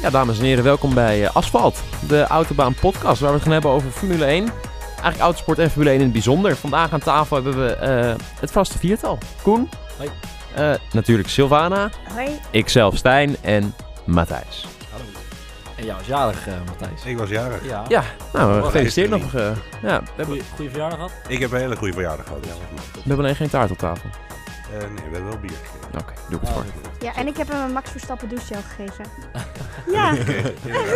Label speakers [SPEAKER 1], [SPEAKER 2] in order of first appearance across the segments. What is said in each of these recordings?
[SPEAKER 1] Ja, dames en heren, welkom bij eh, Asfalt, de Autobaan podcast waar we het gaan hebben over Formule 1. Eigenlijk autosport en Formule 1 in het bijzonder. Vandaag aan tafel hebben we eh, het vaste viertal. Koen.
[SPEAKER 2] Hoi.
[SPEAKER 1] Eh, natuurlijk Sylvana.
[SPEAKER 3] Hoi.
[SPEAKER 1] Ikzelf Stijn en Matthijs.
[SPEAKER 2] Hallo. En jou is jarig, eh, Matthijs.
[SPEAKER 4] Ik was jarig.
[SPEAKER 2] Ja.
[SPEAKER 1] Ja, nou, eh,
[SPEAKER 4] Wat
[SPEAKER 1] gefeliciteerd
[SPEAKER 4] is er
[SPEAKER 1] nog. eh, ja, we hebben,
[SPEAKER 2] Goeie, goeie verjaardag gehad.
[SPEAKER 4] Ik heb een hele goede verjaardag gehad. dat is het maar.
[SPEAKER 1] we hebben alleen geen taart op tafel.
[SPEAKER 4] Eh, nee, we hebben wel bier gekregen.
[SPEAKER 1] Oké, doe ik het voor.
[SPEAKER 3] Ja, en ik heb hem een Max Verstappen douchegel gegeven.
[SPEAKER 4] Ja.
[SPEAKER 3] ja.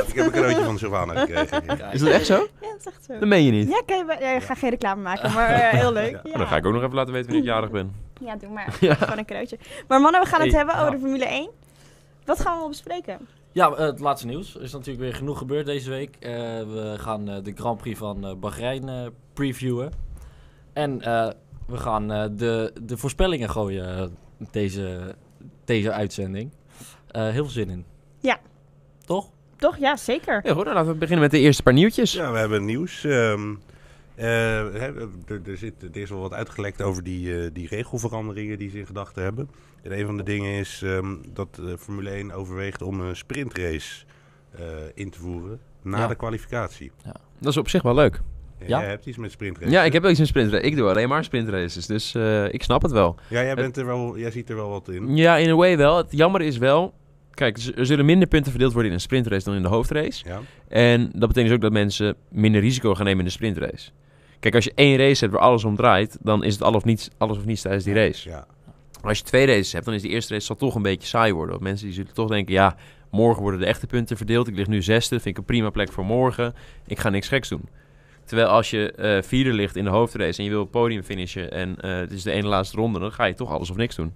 [SPEAKER 4] Ik heb een cadeautje van Sylvana gekregen. ja.
[SPEAKER 1] Is dat echt zo?
[SPEAKER 3] ja, dat is echt zo.
[SPEAKER 1] Dat meen je niet.
[SPEAKER 3] Ja, kan je bij- ja, ik ga geen reclame maken, maar eh, heel leuk. Ja.
[SPEAKER 1] Nou, dan ga ik ook nog even laten weten wanneer ik jarig ben.
[SPEAKER 3] Ja, doe maar.
[SPEAKER 1] Ja.
[SPEAKER 3] Gewoon een cadeautje. Maar mannen, we gaan het
[SPEAKER 2] Hey,
[SPEAKER 3] hebben over
[SPEAKER 2] ja.
[SPEAKER 3] de Formule 1. Wat gaan we allemaal bespreken?
[SPEAKER 2] Ja, eh, het laatste nieuws. Er is natuurlijk weer genoeg gebeurd deze week. Eh, we gaan eh, de Grand Prix van eh, Bahrein eh, previewen. En eh, we gaan eh, de, de voorspellingen gooien eh, deze, deze uitzending. Eh, heel veel zin in.
[SPEAKER 3] Ja.
[SPEAKER 2] Toch?
[SPEAKER 3] Toch? Ja, zeker.
[SPEAKER 1] Heel goed, nou, laten we beginnen met de eerste paar nieuwtjes.
[SPEAKER 4] Ja, we hebben nieuws. Ehm, eh, hè, er, er zit, er is wel wat uitgelekt over die, eh, die regelveranderingen die ze in gedachten hebben. En een van de dingen is ehm, dat de Formule 1 overweegt om een sprintrace eh, in te voeren na
[SPEAKER 2] Ja.
[SPEAKER 4] de kwalificatie.
[SPEAKER 1] Dat is op zich wel leuk.
[SPEAKER 4] Eh,
[SPEAKER 2] Ja?
[SPEAKER 4] Jij hebt iets met sprintrace.
[SPEAKER 1] Ja, ik heb ook eens een sprintrace. Ik doe alleen maar sprintraces, dus eh, ik snap het wel.
[SPEAKER 4] ja jij, bent er wel, jij ziet er wel wat in.
[SPEAKER 1] Ja, in a way wel. Het jammer is wel... Kijk, z- er zullen minder punten verdeeld worden in een sprintrace dan in de hoofdrace.
[SPEAKER 4] Ja.
[SPEAKER 1] En dat betekent dus ook dat mensen minder risico gaan nemen in de sprintrace. Kijk, als je één race hebt waar alles om draait, dan is het alles of niets, alles of niets tijdens die race.
[SPEAKER 4] Ja.
[SPEAKER 1] Maar als je twee races hebt, dan is die eerste race zal toch een beetje saai worden. Want mensen die zullen toch denken, ja, morgen worden de echte punten verdeeld. Ik lig nu zesde, vind ik een prima plek voor morgen. Ik ga niks geks doen. Terwijl als je eh, vierde ligt in de hoofdrace en je wil op het podium finishen en eh, het is de ene laatste ronde, dan ga je toch alles of niks doen.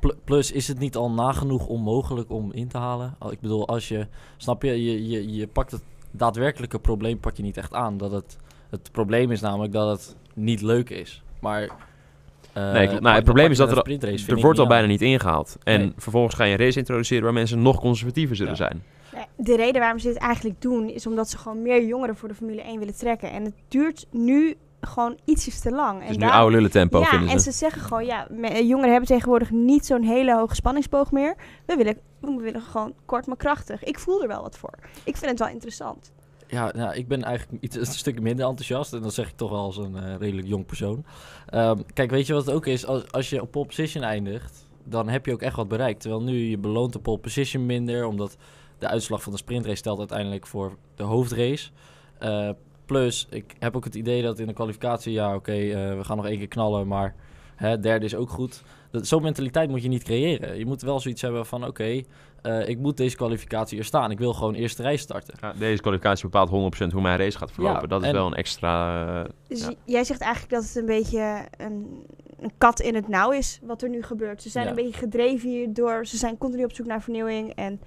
[SPEAKER 2] Pl- plus, is het niet al nagenoeg onmogelijk om in te halen? Al- Ik bedoel, als je, snap je, je, je, je pakt het daadwerkelijke probleem pak je niet echt aan. Dat het, het probleem is namelijk dat het niet leuk is. Maar, eh,
[SPEAKER 1] Nee, klopt. Nou,
[SPEAKER 2] pak-
[SPEAKER 1] het probleem
[SPEAKER 2] pak
[SPEAKER 1] is
[SPEAKER 2] je
[SPEAKER 1] dat
[SPEAKER 2] een
[SPEAKER 1] er-
[SPEAKER 2] sprintrace, vind
[SPEAKER 1] Er
[SPEAKER 2] ik
[SPEAKER 1] wordt al
[SPEAKER 2] niet
[SPEAKER 1] bijna
[SPEAKER 2] aan.
[SPEAKER 1] niet ingehaald. En
[SPEAKER 2] Nee.
[SPEAKER 1] vervolgens ga je een race introduceren waar mensen nog conservatiever zullen
[SPEAKER 2] Ja.
[SPEAKER 1] zijn.
[SPEAKER 3] Nee, De reden waarom ze dit eigenlijk doen is omdat ze gewoon meer jongeren voor de Formule 1 willen trekken. En het duurt nu gewoon ietsjes te lang.
[SPEAKER 1] Het
[SPEAKER 3] en
[SPEAKER 1] is Dus nu
[SPEAKER 3] daarom-
[SPEAKER 1] oude lullen tempo,
[SPEAKER 3] Ja,
[SPEAKER 1] vinden
[SPEAKER 3] en
[SPEAKER 1] ze.
[SPEAKER 3] ze zeggen gewoon, ja, me- eh, jongeren hebben tegenwoordig niet zo'n hele hoge spanningsboog meer. We willen, we willen gewoon kort maar krachtig. Ik voel er wel wat voor. Ik vind het wel interessant.
[SPEAKER 2] Ja, nou, ik ben eigenlijk iets, een stuk minder enthousiast. En dat zeg ik toch wel als een eh, redelijk jong persoon. Ehm, kijk, weet je wat het ook is? Als, als je op pole position eindigt, dan heb je ook echt wat bereikt. Terwijl nu je beloont de pole position minder, omdat de uitslag van de sprintrace stelt uiteindelijk voor de hoofdrace. Eh, plus, ik heb ook het idee dat in de kwalificatie, ja oké, eh, we gaan nog één keer knallen, maar hè, derde is ook goed. Dat- Zo'n mentaliteit moet je niet creëren. Je moet wel zoiets hebben van oké, eh, ik moet deze kwalificatie er staan. Ik wil gewoon eerste rij starten.
[SPEAKER 1] Ja, deze kwalificatie bepaalt 100% hoe mijn race gaat verlopen.
[SPEAKER 2] Ja,
[SPEAKER 1] dat is
[SPEAKER 2] en-
[SPEAKER 1] wel een extra... eh,
[SPEAKER 3] Dus
[SPEAKER 1] Ja.
[SPEAKER 3] j- jij zegt eigenlijk dat het een beetje een, een kat in het nauw is wat er nu gebeurt. Ze zijn
[SPEAKER 2] Ja.
[SPEAKER 3] een beetje gedreven hierdoor. Ze zijn continu op zoek naar vernieuwing. En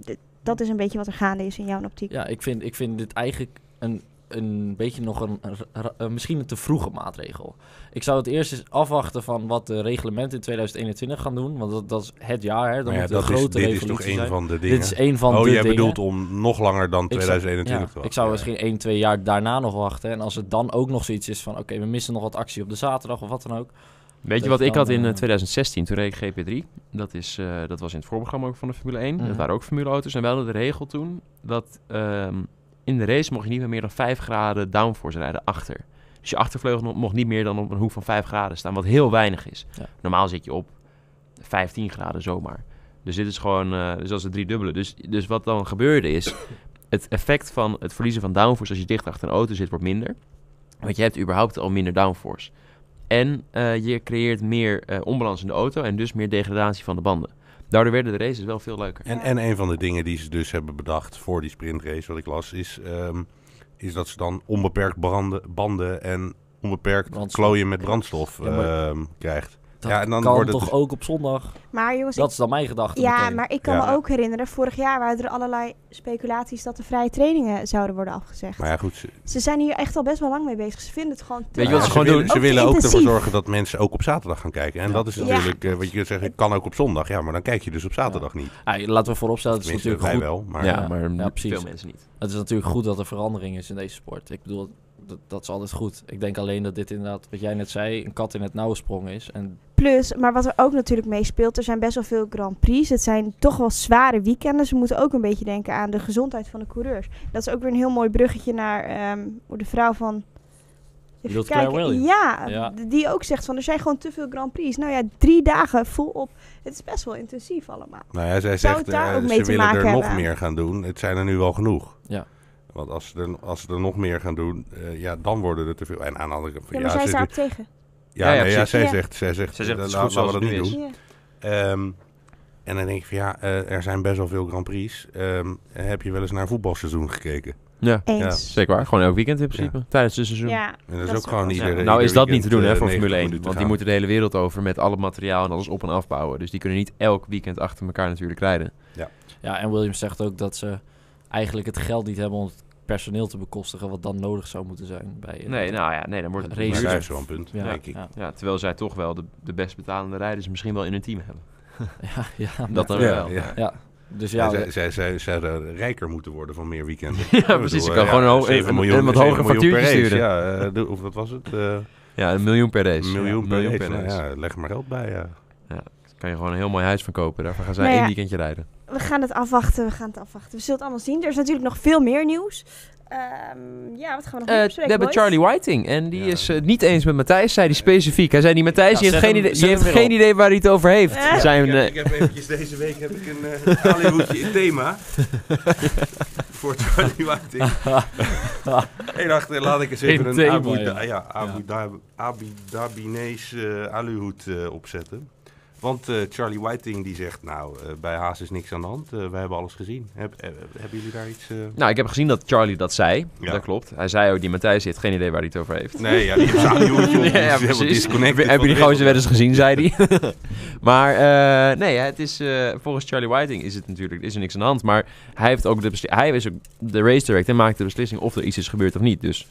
[SPEAKER 3] d- dat is een beetje wat er gaande is in jouw optiek.
[SPEAKER 2] Ja, ik vind, ik vind dit eigenlijk een, een beetje nog een, een ra- een- misschien een te vroege maatregel. Ik zou het eerst eens afwachten van wat de reglementen in 2021 gaan doen. Want dat, dat is het jaar, hè. Dan
[SPEAKER 4] Maar ja,
[SPEAKER 2] moet een
[SPEAKER 4] dat is,
[SPEAKER 2] grote
[SPEAKER 4] dit is
[SPEAKER 2] revolutie
[SPEAKER 4] toch een
[SPEAKER 2] zijn.
[SPEAKER 4] van de dingen.
[SPEAKER 2] Dit is één van
[SPEAKER 4] oh,
[SPEAKER 2] de
[SPEAKER 4] jij
[SPEAKER 2] dingen.
[SPEAKER 4] bedoelt om nog langer dan
[SPEAKER 2] Ik zou-
[SPEAKER 4] 2021
[SPEAKER 2] Ja,
[SPEAKER 4] te wachten.
[SPEAKER 2] ik zou misschien 1, 2 jaar daarna nog wachten. En als het dan ook nog zoiets is van... oké, we missen nog wat actie op de zaterdag of wat dan ook.
[SPEAKER 1] Weet je
[SPEAKER 2] Dat
[SPEAKER 1] wat ik
[SPEAKER 2] kan,
[SPEAKER 1] had in eh,
[SPEAKER 2] eh,
[SPEAKER 1] 2016? Toen reed ik GP3. Dat, is, eh, dat was in het voorprogramma ook van de Formule 1.
[SPEAKER 2] Mhm.
[SPEAKER 1] Dat waren ook formuleauto's. En we hadden de regel toen dat ehm, in de race mocht je niet meer meer dan 5 graden downforce rijden achter. Dus je achtervleugel mo- mocht niet meer dan op een hoek van 5 graden staan, wat heel weinig is.
[SPEAKER 2] Ja.
[SPEAKER 1] Normaal zit je op 15 graden zomaar. Dus dit is gewoon, eh, dus dat is het driedubbele. Dus, dus wat dan gebeurde is, het effect van het verliezen van downforce als je dicht achter een auto zit, wordt minder. Want je hebt überhaupt al minder downforce. En eh, je creëert meer eh, onbalans in de auto en dus meer degradatie van de banden. Daardoor werden de races wel veel leuker.
[SPEAKER 4] En, en een van de dingen die ze dus hebben bedacht voor die sprintrace, wat ik las, is, ehm, is dat ze dan onbeperkt branden, banden en onbeperkt
[SPEAKER 2] Brandstof.
[SPEAKER 4] klooien met brandstof
[SPEAKER 2] Ja, maar-
[SPEAKER 4] ehm, krijgt.
[SPEAKER 2] Dat
[SPEAKER 4] Ja, en dan
[SPEAKER 2] kan
[SPEAKER 4] wordt het
[SPEAKER 2] toch
[SPEAKER 4] dus-
[SPEAKER 2] ook op zondag?
[SPEAKER 3] Maar jongens,
[SPEAKER 2] Dat
[SPEAKER 3] ik-
[SPEAKER 2] is dan mijn gedachte
[SPEAKER 3] ja,
[SPEAKER 2] meteen.
[SPEAKER 3] maar ik kan
[SPEAKER 4] Ja.
[SPEAKER 3] me ook herinneren, vorig jaar waren er allerlei speculaties dat de vrije trainingen zouden worden afgezegd.
[SPEAKER 4] Maar ja, goed. Ze,
[SPEAKER 3] Ze zijn hier echt al best wel lang mee bezig. Ze vinden het gewoon te
[SPEAKER 1] Weet je wat
[SPEAKER 3] lang.
[SPEAKER 1] ze gewoon
[SPEAKER 4] willen-
[SPEAKER 1] doen?
[SPEAKER 4] Ze
[SPEAKER 3] Ook
[SPEAKER 4] willen ook ervoor
[SPEAKER 3] intensief.
[SPEAKER 4] zorgen dat mensen ook op zaterdag gaan kijken. En
[SPEAKER 2] Ja.
[SPEAKER 4] dat is
[SPEAKER 2] Ja.
[SPEAKER 4] natuurlijk, eh, wat je kunt zeggen, kan ook op zondag. Ja, maar dan kijk je dus op zaterdag niet.
[SPEAKER 2] Ah, laten we vooropstellen, het is
[SPEAKER 4] Tenminste,
[SPEAKER 2] natuurlijk
[SPEAKER 4] wij
[SPEAKER 2] goed
[SPEAKER 4] wel. Maar
[SPEAKER 1] ja,
[SPEAKER 2] ja,
[SPEAKER 1] maar
[SPEAKER 2] ja, precies.
[SPEAKER 1] veel eh, mensen niet.
[SPEAKER 2] Het is natuurlijk goed dat er verandering is in deze sport. Ik bedoel, dat, dat is altijd goed. Ik denk alleen dat dit inderdaad, wat jij net zei, een kat in het nauw sprong is. En
[SPEAKER 3] Plus, maar wat er ook natuurlijk meespeelt, er zijn best wel veel Grand Prix. Het zijn toch wel zware weekenden. Ze moeten ook een beetje denken aan de gezondheid van de coureurs. Dat is ook weer een heel mooi bruggetje naar ehm, hoe de vrouw van... Even
[SPEAKER 2] bedoelt
[SPEAKER 3] kijken.
[SPEAKER 2] Claire Williams?
[SPEAKER 3] Ja,
[SPEAKER 2] Ja.
[SPEAKER 3] d- die ook zegt van er zijn gewoon te veel Grand Prix. Nou ja, drie dagen volop. Het is best wel intensief allemaal.
[SPEAKER 4] Nou ja, zij
[SPEAKER 3] Zou
[SPEAKER 4] zegt,
[SPEAKER 3] het daar
[SPEAKER 4] eh,
[SPEAKER 3] ook mee
[SPEAKER 4] ze
[SPEAKER 3] te
[SPEAKER 4] willen
[SPEAKER 3] maken
[SPEAKER 4] er nog
[SPEAKER 3] hebben?
[SPEAKER 4] meer gaan doen. Het zijn er nu wel genoeg.
[SPEAKER 2] Ja.
[SPEAKER 4] Want als ze er, als ze er nog meer gaan doen, eh, ja, dan worden er te veel. En aan de andere kant...
[SPEAKER 3] Ja, maar zij
[SPEAKER 4] ze-
[SPEAKER 3] is daar ook tegen.
[SPEAKER 4] ja,
[SPEAKER 1] Ja, ja,
[SPEAKER 4] nee, ja,
[SPEAKER 1] precies.
[SPEAKER 4] zij
[SPEAKER 3] Ja.
[SPEAKER 4] zegt... Zij zegt,
[SPEAKER 1] Zij zegt, het is
[SPEAKER 4] eh,
[SPEAKER 1] goed
[SPEAKER 4] laten we
[SPEAKER 1] zoals
[SPEAKER 4] dat
[SPEAKER 1] het nu
[SPEAKER 4] niet
[SPEAKER 1] is.
[SPEAKER 4] doen.
[SPEAKER 3] Ja.
[SPEAKER 4] Ehm, en dan denk ik van ja, eh, er zijn best wel veel Grand Prix. Ehm, heb je wel eens naar een voetbalseizoen gekeken?
[SPEAKER 1] Ja,
[SPEAKER 3] Eens.
[SPEAKER 1] zeker waar. Gewoon elk weekend in principe. Tijdens het seizoen.
[SPEAKER 3] Ja,
[SPEAKER 4] En dat, is
[SPEAKER 3] Dat
[SPEAKER 4] ook
[SPEAKER 3] is
[SPEAKER 4] gewoon
[SPEAKER 3] wel-
[SPEAKER 1] Ja,
[SPEAKER 4] iedere
[SPEAKER 1] nou
[SPEAKER 4] ieder
[SPEAKER 1] is dat niet te
[SPEAKER 4] weekend,
[SPEAKER 1] doen hè,
[SPEAKER 4] eh,
[SPEAKER 1] voor
[SPEAKER 4] 90
[SPEAKER 1] Formule 1.
[SPEAKER 4] minuten
[SPEAKER 1] Want die
[SPEAKER 4] gaan.
[SPEAKER 1] moeten de hele wereld over met alle materiaal en alles op en afbouwen. Dus die kunnen niet elk weekend achter elkaar natuurlijk rijden.
[SPEAKER 2] ja, en Williams zegt ook dat ze eigenlijk het geld niet hebben om het personeel te bekostigen, wat dan nodig zou moeten zijn bij. eh,
[SPEAKER 1] Nee, nou ja, nee, dan wordt het
[SPEAKER 2] Maar
[SPEAKER 4] Maar
[SPEAKER 1] race.
[SPEAKER 4] daar
[SPEAKER 2] duurder.
[SPEAKER 4] is wel een punt,
[SPEAKER 2] ja,
[SPEAKER 4] denk ik.
[SPEAKER 2] Ja,
[SPEAKER 1] Ja, terwijl zij toch wel de, de best betalende rijders misschien wel in hun team hebben.
[SPEAKER 2] ja, ja,
[SPEAKER 1] Dat
[SPEAKER 2] maar-
[SPEAKER 1] dan
[SPEAKER 4] Ja,
[SPEAKER 1] wel.
[SPEAKER 4] ja.
[SPEAKER 2] Ja, dus ja,
[SPEAKER 4] zij, zij, zij zouden rijker moeten worden van meer weekenden. Ik
[SPEAKER 1] Ja,
[SPEAKER 4] bedoel,
[SPEAKER 1] precies. Ik
[SPEAKER 4] eh,
[SPEAKER 1] kan
[SPEAKER 4] ja,
[SPEAKER 1] gewoon een, ho-
[SPEAKER 4] 7
[SPEAKER 1] een-
[SPEAKER 4] miljoen-
[SPEAKER 1] een wat
[SPEAKER 4] 7
[SPEAKER 1] hoger
[SPEAKER 4] miljoen per
[SPEAKER 1] factuurtje
[SPEAKER 4] race,
[SPEAKER 1] sturen. Ja.
[SPEAKER 4] Ja, eh, de- of wat was het? Eh,
[SPEAKER 1] een miljoen per race.
[SPEAKER 4] een miljoen
[SPEAKER 1] Ja,
[SPEAKER 4] per race. Nou ja, leg er maar geld bij, ja.
[SPEAKER 1] Daar kan je gewoon een heel mooi huis van kopen. Daarvan gaan zij
[SPEAKER 3] Nou
[SPEAKER 1] één
[SPEAKER 3] ja.
[SPEAKER 1] weekendje rijden.
[SPEAKER 3] we gaan het afwachten, we gaan het afwachten. We zullen het allemaal zien. Er is natuurlijk nog veel meer nieuws. Ehm, ja, wat gaan we
[SPEAKER 1] Eh,
[SPEAKER 3] nog meer
[SPEAKER 1] we
[SPEAKER 3] bespreken,
[SPEAKER 1] hebben
[SPEAKER 3] boys?
[SPEAKER 1] Charlie Whiting. En die
[SPEAKER 4] Ja.
[SPEAKER 1] is eh, niet eens met Matthijs, zei hij specifiek. Hij zei die Matthijs,
[SPEAKER 2] Ja,
[SPEAKER 1] die heeft
[SPEAKER 2] zet
[SPEAKER 1] geen,
[SPEAKER 2] hem-
[SPEAKER 1] idee, die
[SPEAKER 2] zet hem
[SPEAKER 1] heeft
[SPEAKER 2] weer
[SPEAKER 1] geen
[SPEAKER 2] op.
[SPEAKER 1] idee waar hij het over heeft.
[SPEAKER 3] Eh?
[SPEAKER 1] Zijn,
[SPEAKER 4] ik,
[SPEAKER 1] eh,
[SPEAKER 4] heb, ik heb eventjes deze week heb ik een eh Hollywoodje in thema. voor Charlie Whiting. ik dacht, eh, laat ik eens even
[SPEAKER 2] In
[SPEAKER 4] een
[SPEAKER 2] thema,
[SPEAKER 4] Abu,
[SPEAKER 2] ja.
[SPEAKER 4] Da- ja, Abu, Dhab- Abu Dhabinees eh, aluhoed eh, opzetten. Want eh, Charlie Whiting die zegt, nou, eh, bij Haas is niks aan de hand. Eh, wij hebben alles gezien. Heb, eh, hebben jullie daar iets... eh,
[SPEAKER 1] Nou, ik heb gezien dat Charlie dat zei.
[SPEAKER 4] Ja.
[SPEAKER 1] Dat klopt. Hij zei ook, die Matthijs heeft geen idee waar hij het over heeft.
[SPEAKER 4] Nee, ja, die hebben zijn aluhoedje op. Ja, precies.
[SPEAKER 1] Hebben die gozer wel eens gezien, zei hij. maar eh, nee, het is, eh, volgens Charlie Whiting is het natuurlijk is er niks aan de hand. Maar hij, heeft ook de besli- hij is ook de race director en maakt de beslissing of er iets is gebeurd of niet. Dus,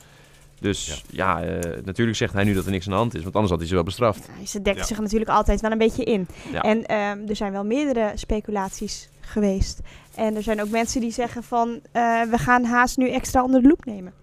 [SPEAKER 1] dus ja, eh, natuurlijk zegt hij nu dat er niks aan de hand is. Want anders had hij ze wel bestraft.
[SPEAKER 3] Ja, ze dekken
[SPEAKER 4] Ja.
[SPEAKER 3] zich natuurlijk altijd wel een beetje in.
[SPEAKER 1] Ja.
[SPEAKER 3] En ehm, er zijn wel meerdere speculaties geweest. En er zijn ook mensen die zeggen van... eh, we gaan Haas nu extra onder de loep nemen.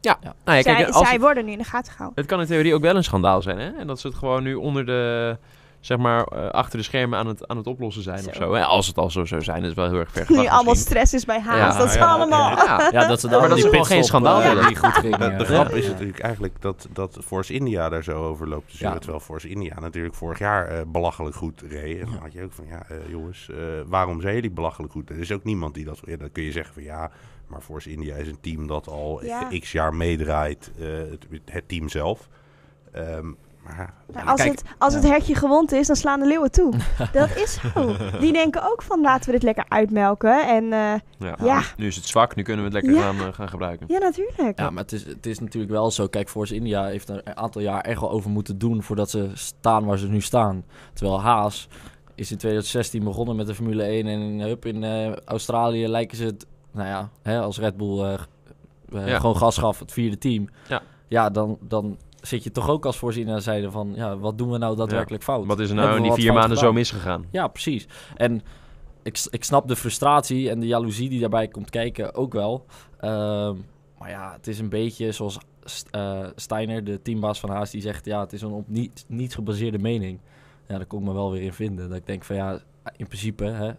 [SPEAKER 1] Nou, ja, kijk,
[SPEAKER 3] zij,
[SPEAKER 1] als
[SPEAKER 3] zij worden nu in de gaten gehouden.
[SPEAKER 1] Het kan in theorie ook wel een schandaal zijn, hè? En dat ze het gewoon nu onder de, zeg maar, eh, achter de schermen aan het, aan het oplossen zijn
[SPEAKER 3] Zo.
[SPEAKER 1] of zo. Hè? Als het al zo zou zijn, dat is wel heel erg ver
[SPEAKER 3] Nu
[SPEAKER 1] gedacht
[SPEAKER 3] allemaal
[SPEAKER 1] misschien.
[SPEAKER 3] stress is bij Haas.
[SPEAKER 1] Ja,
[SPEAKER 3] dat is
[SPEAKER 4] ja,
[SPEAKER 3] allemaal...
[SPEAKER 4] ja.
[SPEAKER 1] Ja,
[SPEAKER 2] ja, dat ze dan
[SPEAKER 1] maar dat
[SPEAKER 2] die
[SPEAKER 1] is gewoon geen
[SPEAKER 2] pitstop, eh,
[SPEAKER 1] schandaal
[SPEAKER 2] die
[SPEAKER 1] willen.
[SPEAKER 2] goed eh. ging,
[SPEAKER 4] Eh, De, de
[SPEAKER 2] ja.
[SPEAKER 4] grap
[SPEAKER 2] Ja.
[SPEAKER 4] is natuurlijk eigenlijk dat, dat Force India daar zo over loopt te zuren.
[SPEAKER 2] Ja.
[SPEAKER 4] Terwijl Force India natuurlijk vorig jaar eh, belachelijk goed reed. En dan
[SPEAKER 2] Ja.
[SPEAKER 4] had je ook van, ja eh, jongens, eh, waarom zijn jullie belachelijk goed? Er is ook niemand die dat... Ja, dan kun je zeggen van, ja, maar Force India is een team dat al
[SPEAKER 3] Ja.
[SPEAKER 4] x jaar meedraait. eh, het, het team zelf. Ehm, maar
[SPEAKER 3] Maar Nou, als
[SPEAKER 2] Kijk,
[SPEAKER 3] het, als het
[SPEAKER 2] ja.
[SPEAKER 3] hertje gewond is, dan slaan de leeuwen toe. dat is zo. Die denken ook van laten we dit lekker uitmelken. En eh,
[SPEAKER 1] Ja.
[SPEAKER 3] Ja.
[SPEAKER 1] Nu is het zwak, nu kunnen we het
[SPEAKER 3] Ja.
[SPEAKER 1] lekker gaan, eh, gaan gebruiken.
[SPEAKER 3] ja, natuurlijk.
[SPEAKER 2] Ja, maar het is, het is natuurlijk wel zo. Kijk, Force India heeft er een aantal jaar echt wel over moeten doen voordat ze staan waar ze nu staan. Terwijl Haas is in 2016 begonnen met de Formule 1 en hup, in eh, Australië lijken ze het, nou ja, hè, als Red Bull eh, eh,
[SPEAKER 1] Ja.
[SPEAKER 2] gewoon gas gaf, het vierde team.
[SPEAKER 1] Ja.
[SPEAKER 2] ja dan, dan zit je toch ook als Force India zijde van, ja, wat doen we nou daadwerkelijk fout?
[SPEAKER 1] Wat is er
[SPEAKER 2] Hebben
[SPEAKER 1] nou
[SPEAKER 2] we
[SPEAKER 1] in die
[SPEAKER 2] wat
[SPEAKER 1] vier
[SPEAKER 2] fout
[SPEAKER 1] maanden zo
[SPEAKER 2] gedaan?
[SPEAKER 1] misgegaan?
[SPEAKER 2] Ja, precies. En ik, s- ik snap de frustratie en de jaloezie die daarbij komt kijken ook wel. Ehm, maar ja, het is een beetje zoals St- eh, Steiner, de teambaas van Haas, die zegt... ja, het is een op niet, niet gebaseerde mening. Ja, daar kon ik me wel weer in vinden. Dat ik denk van ja, in principe, hè,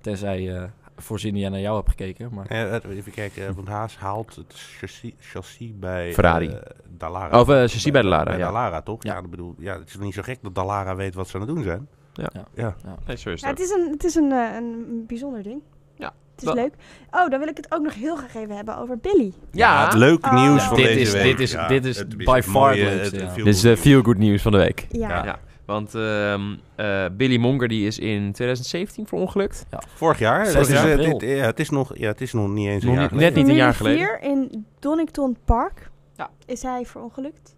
[SPEAKER 2] tenzij eh Force India naar jou hebt gekeken. Maar
[SPEAKER 4] eh, eh, even kijken, eh, want Haas haalt het chassis, chassis bij...
[SPEAKER 1] Ferrari.
[SPEAKER 4] eh, Dallara.
[SPEAKER 1] Of eh chassis bij de Lara,
[SPEAKER 4] Bij
[SPEAKER 1] ja.
[SPEAKER 4] Dallara, toch? Ja,
[SPEAKER 2] Ja.
[SPEAKER 4] ik bedoel, ja, het is niet zo gek dat Dallara weet wat ze aan het doen zijn.
[SPEAKER 1] Ja.
[SPEAKER 2] Ja.
[SPEAKER 4] ja.
[SPEAKER 1] Nee, zo is
[SPEAKER 3] Ja, Nou, het
[SPEAKER 1] het.
[SPEAKER 3] is een, het is een, eh, een bijzonder ding.
[SPEAKER 1] Ja.
[SPEAKER 3] Het is
[SPEAKER 1] Dat-
[SPEAKER 3] leuk. Oh, dan wil ik het ook nog heel graag even hebben over Billy.
[SPEAKER 1] Ja,
[SPEAKER 4] het leuke
[SPEAKER 3] Oh.
[SPEAKER 4] nieuws van
[SPEAKER 1] Dit
[SPEAKER 4] deze
[SPEAKER 1] is-
[SPEAKER 4] week.
[SPEAKER 1] dit is-
[SPEAKER 4] Ja,
[SPEAKER 2] dit is
[SPEAKER 4] het
[SPEAKER 2] by far
[SPEAKER 4] het mooie,
[SPEAKER 2] het leukste,
[SPEAKER 4] het-
[SPEAKER 2] ja.
[SPEAKER 4] het
[SPEAKER 1] dit is de feel good nieuws van de week.
[SPEAKER 3] Ja.
[SPEAKER 1] Ja. Want ehm, eh, Billy Monger die is in 2017 verongelukt.
[SPEAKER 4] Vorig jaar.
[SPEAKER 2] Vorig
[SPEAKER 4] Het is,
[SPEAKER 2] jaar.
[SPEAKER 4] eh,
[SPEAKER 2] april.
[SPEAKER 4] dit- ja, het is nog, ja, het is nog niet eens een
[SPEAKER 1] Nog
[SPEAKER 4] jaar
[SPEAKER 1] niet- net
[SPEAKER 4] geleden.
[SPEAKER 1] niet een jaar
[SPEAKER 3] Formule
[SPEAKER 1] geleden.
[SPEAKER 3] 4 in Donington Park
[SPEAKER 1] Ja.
[SPEAKER 3] is hij verongelukt.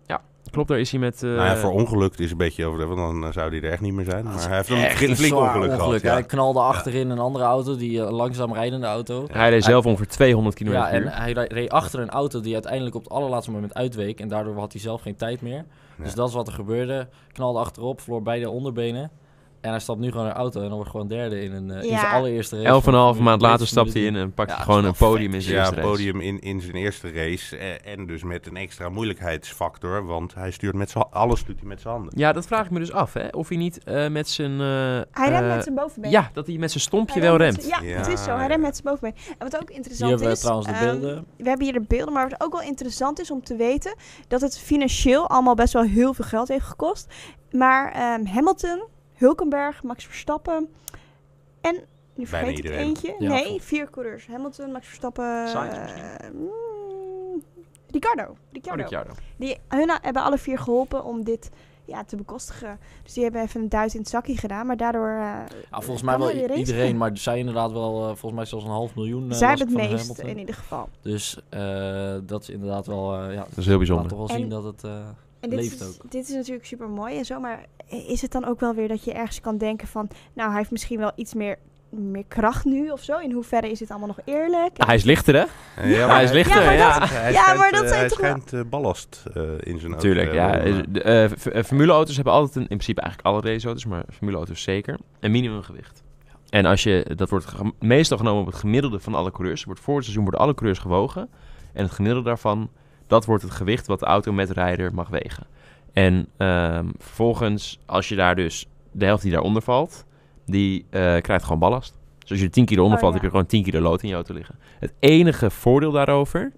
[SPEAKER 1] Klopt, daar is hij met... eh,
[SPEAKER 4] Nou ja, voor ongelukt is een beetje over, de- want dan eh, zou hij er echt niet meer zijn.
[SPEAKER 2] Dat
[SPEAKER 4] Maar
[SPEAKER 2] is
[SPEAKER 4] hij heeft een
[SPEAKER 2] echt
[SPEAKER 4] flink, flink
[SPEAKER 2] zwaar
[SPEAKER 4] ongeluk,
[SPEAKER 2] ongeluk. Hij
[SPEAKER 4] gehad.
[SPEAKER 2] knalde achterin een andere auto, die eh, langzaam rijdende auto.
[SPEAKER 1] Hij reed zelf ongeveer 200 km
[SPEAKER 2] Ja,
[SPEAKER 1] per
[SPEAKER 2] en
[SPEAKER 1] uur.
[SPEAKER 2] hij re- reed achter een auto die uiteindelijk op het allerlaatste moment uitweek. En daardoor had hij zelf geen tijd meer.
[SPEAKER 4] Ja.
[SPEAKER 2] Dus dat is wat er gebeurde. Knalde achterop, verloor beide onderbenen. En hij stapt nu gewoon naar de auto en dan wordt gewoon derde in, een, eh, in
[SPEAKER 3] Ja.
[SPEAKER 2] zijn allereerste race.
[SPEAKER 1] Elf en
[SPEAKER 2] van
[SPEAKER 1] een half
[SPEAKER 2] Formule
[SPEAKER 1] maand later
[SPEAKER 2] 1.
[SPEAKER 1] stapt hij in en pakt
[SPEAKER 2] Ja,
[SPEAKER 1] hij
[SPEAKER 2] dat
[SPEAKER 1] gewoon
[SPEAKER 2] is
[SPEAKER 1] een
[SPEAKER 2] wel
[SPEAKER 1] podium in
[SPEAKER 2] vet.
[SPEAKER 1] zijn
[SPEAKER 4] Ja,
[SPEAKER 1] eerste race.
[SPEAKER 4] podium in, in zijn eerste race. eh, en dus met een extra moeilijkheidsfactor. Want hij stuurt met z'n ha- alles doet hij met zijn handen.
[SPEAKER 1] Ja, dat vraag ik me dus af, hè. Of hij niet eh, met zijn... eh,
[SPEAKER 3] Hij remt
[SPEAKER 1] eh,
[SPEAKER 3] met zijn bovenbeen.
[SPEAKER 1] Ja, dat hij met zijn stompje
[SPEAKER 3] Hij
[SPEAKER 1] wel
[SPEAKER 3] met
[SPEAKER 1] remt.
[SPEAKER 3] zijn- Ja,
[SPEAKER 4] Ja,
[SPEAKER 3] het is zo. Hij
[SPEAKER 4] ja.
[SPEAKER 3] remt met zijn bovenbeen. En wat ook interessant
[SPEAKER 2] Hier hebben we
[SPEAKER 3] is...
[SPEAKER 2] trouwens de
[SPEAKER 3] ehm,
[SPEAKER 2] beelden.
[SPEAKER 3] we hebben hier de beelden, maar wat ook wel interessant is om te weten... dat het financieel allemaal best wel heel veel geld heeft gekost. Maar ehm, Hamilton, Hulkenberg, Max Verstappen en... Nu
[SPEAKER 4] Bijna
[SPEAKER 3] vergeet ik
[SPEAKER 4] iedereen.
[SPEAKER 3] eentje.
[SPEAKER 2] Ja,
[SPEAKER 3] nee,
[SPEAKER 2] klopt.
[SPEAKER 3] vier coureurs. Hamilton, Max Verstappen...
[SPEAKER 1] Sainz
[SPEAKER 3] eh, mm, Ricardo.
[SPEAKER 1] Oh,
[SPEAKER 3] Ricciardo.
[SPEAKER 1] dat jaar dan.
[SPEAKER 3] Die, hun hebben alle vier geholpen om dit ja, te bekostigen. Dus die hebben even een duit in het zakje gedaan. Maar daardoor... eh,
[SPEAKER 2] Ja, volgens
[SPEAKER 3] kan
[SPEAKER 2] mij wel
[SPEAKER 3] hij de
[SPEAKER 2] i-
[SPEAKER 3] race
[SPEAKER 2] iedereen,
[SPEAKER 3] winnen.
[SPEAKER 2] maar zij inderdaad wel, eh, volgens mij zelfs een half miljoen. eh,
[SPEAKER 3] Zij
[SPEAKER 2] las
[SPEAKER 3] hebben
[SPEAKER 2] ik
[SPEAKER 3] het
[SPEAKER 2] van
[SPEAKER 3] meest
[SPEAKER 2] Hamilton.
[SPEAKER 3] in ieder geval.
[SPEAKER 2] Dus eh, dat is inderdaad wel, eh, ja,
[SPEAKER 1] Dat is heel
[SPEAKER 2] laat
[SPEAKER 1] bijzonder.
[SPEAKER 2] toch wel
[SPEAKER 3] En-
[SPEAKER 2] zien dat het... eh,
[SPEAKER 3] En dit,
[SPEAKER 2] Leeft
[SPEAKER 3] is,
[SPEAKER 2] ook.
[SPEAKER 3] dit is natuurlijk super mooi en zo, maar is het dan ook wel weer dat je ergens kan denken van, nou, hij heeft misschien wel iets meer, meer kracht nu of zo? In hoeverre is dit allemaal nog eerlijk?
[SPEAKER 1] Ah, hij is lichter, hè?
[SPEAKER 4] Eh,
[SPEAKER 1] Ja, hij is lichter,
[SPEAKER 3] maar
[SPEAKER 1] ja.
[SPEAKER 4] Hij
[SPEAKER 3] Ja,
[SPEAKER 4] schijnt,
[SPEAKER 3] maar dat
[SPEAKER 4] eh,
[SPEAKER 3] zijn
[SPEAKER 4] hij
[SPEAKER 3] toch
[SPEAKER 4] schijnt eh, ballast eh, in zijn auto.
[SPEAKER 1] Natuurlijk,
[SPEAKER 4] te
[SPEAKER 1] ja.
[SPEAKER 4] hebben,
[SPEAKER 1] Eh,
[SPEAKER 4] maar-
[SPEAKER 1] de, eh, f- eh, formuleauto's hebben altijd een, in principe eigenlijk alle raceauto's, maar formuleauto's zeker, een minimumgewicht. En als je, dat wordt ge- meestal genomen op het gemiddelde van alle coureurs. Wordt voor het seizoen worden alle coureurs gewogen. En het gemiddelde daarvan, dat wordt het gewicht wat de auto met rijder mag wegen. En ehm, vervolgens, als je daar dus de helft die daaronder valt, die eh, krijgt gewoon ballast. Dus als je 10 kilo onder
[SPEAKER 3] Oh,
[SPEAKER 1] valt,
[SPEAKER 3] ja.
[SPEAKER 1] heb je gewoon 10 kilo lood in je auto liggen. Het enige voordeel daarover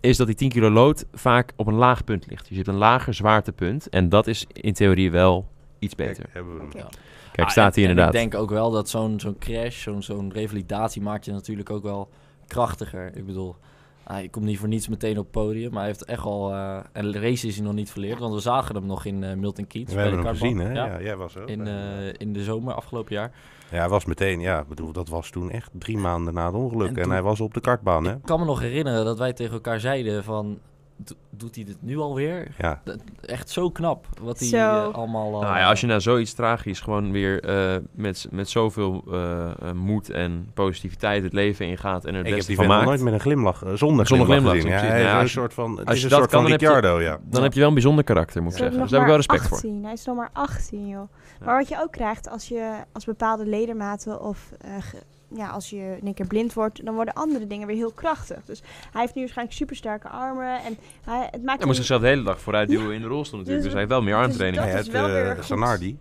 [SPEAKER 1] is dat die 10 kilo lood vaak op een laag punt ligt. Dus je hebt een lager zwaartepunt. En dat is in theorie wel iets
[SPEAKER 4] Kijk,
[SPEAKER 1] beter.
[SPEAKER 4] hebben we hem.
[SPEAKER 3] Oké.
[SPEAKER 1] Kijk,
[SPEAKER 2] Ah,
[SPEAKER 1] staat
[SPEAKER 2] en-
[SPEAKER 1] hier
[SPEAKER 2] en
[SPEAKER 1] inderdaad.
[SPEAKER 2] Ik denk ook wel dat zo'n zo'n crash, zo'n zo'n revalidatie maakt je natuurlijk ook wel krachtiger. Ik bedoel, hij komt niet voor niets meteen op het podium, maar hij heeft echt al... eh een race is hij nog niet verleerd, want we zagen hem nog in eh, Milton Keynes.
[SPEAKER 4] We
[SPEAKER 2] bij de
[SPEAKER 4] hebben hem
[SPEAKER 2] kartbaan.
[SPEAKER 4] gezien,
[SPEAKER 2] Ja,
[SPEAKER 4] hè? Ja, jij was ook.
[SPEAKER 2] In,
[SPEAKER 4] bij.
[SPEAKER 2] eh, in de zomer, afgelopen jaar.
[SPEAKER 4] Ja, hij was meteen, ja. Ik bedoel, dat was toen echt drie maanden na het ongeluk.
[SPEAKER 2] En
[SPEAKER 4] En,
[SPEAKER 2] toen-
[SPEAKER 4] hij was op de kartbaan, hè?
[SPEAKER 2] Ik kan me nog herinneren dat wij tegen elkaar zeiden van... "Do- Doet hij dit nu alweer?
[SPEAKER 4] Ja.
[SPEAKER 2] Echt zo knap wat hij
[SPEAKER 3] Zo.
[SPEAKER 2] eh, allemaal... eh,
[SPEAKER 1] Nou ja, als je na zoiets tragisch gewoon weer eh, met, met zoveel eh, eh, moed en positiviteit het leven ingaat en er het
[SPEAKER 4] Ik heb
[SPEAKER 1] beste
[SPEAKER 4] die
[SPEAKER 1] van
[SPEAKER 4] vent nog
[SPEAKER 1] maakt,
[SPEAKER 4] nooit met een glimlach, eh, zonder,
[SPEAKER 1] Zonder glimlach,
[SPEAKER 4] glimlach, gezien. Ja,
[SPEAKER 1] precies.
[SPEAKER 4] hij is
[SPEAKER 1] Nou ja,
[SPEAKER 4] een
[SPEAKER 1] als je-
[SPEAKER 4] soort van, het
[SPEAKER 1] als
[SPEAKER 4] is
[SPEAKER 1] je
[SPEAKER 4] een
[SPEAKER 1] dat
[SPEAKER 4] soort van
[SPEAKER 1] kan, dan heb je-
[SPEAKER 4] Ricciardo, ja.
[SPEAKER 1] dan heb je wel een bijzonder karakter, moet ik
[SPEAKER 3] Ze hebben
[SPEAKER 1] zeggen. Dus
[SPEAKER 3] nog
[SPEAKER 1] daar heb ik wel
[SPEAKER 3] maar
[SPEAKER 1] respect voor.
[SPEAKER 3] 18. Hij is nog maar 18, joh. Maar wat je ook krijgt als je als bepaalde ledematen of eh, ge- ja, als je in één keer blind wordt, dan worden andere dingen weer heel krachtig. Dus hij heeft nu waarschijnlijk supersterke armen en hij, het maakt
[SPEAKER 1] Hij moest
[SPEAKER 3] hem-
[SPEAKER 1] zichzelf de hele dag vooruit duwen in de rolstoel natuurlijk. Dus
[SPEAKER 3] Dus
[SPEAKER 1] hij heeft wel meer
[SPEAKER 3] dus
[SPEAKER 1] armtraining.
[SPEAKER 3] dat
[SPEAKER 4] Hij
[SPEAKER 3] is
[SPEAKER 4] heeft,
[SPEAKER 3] wel
[SPEAKER 4] eh,
[SPEAKER 3] weer goed.
[SPEAKER 4] Zanardi.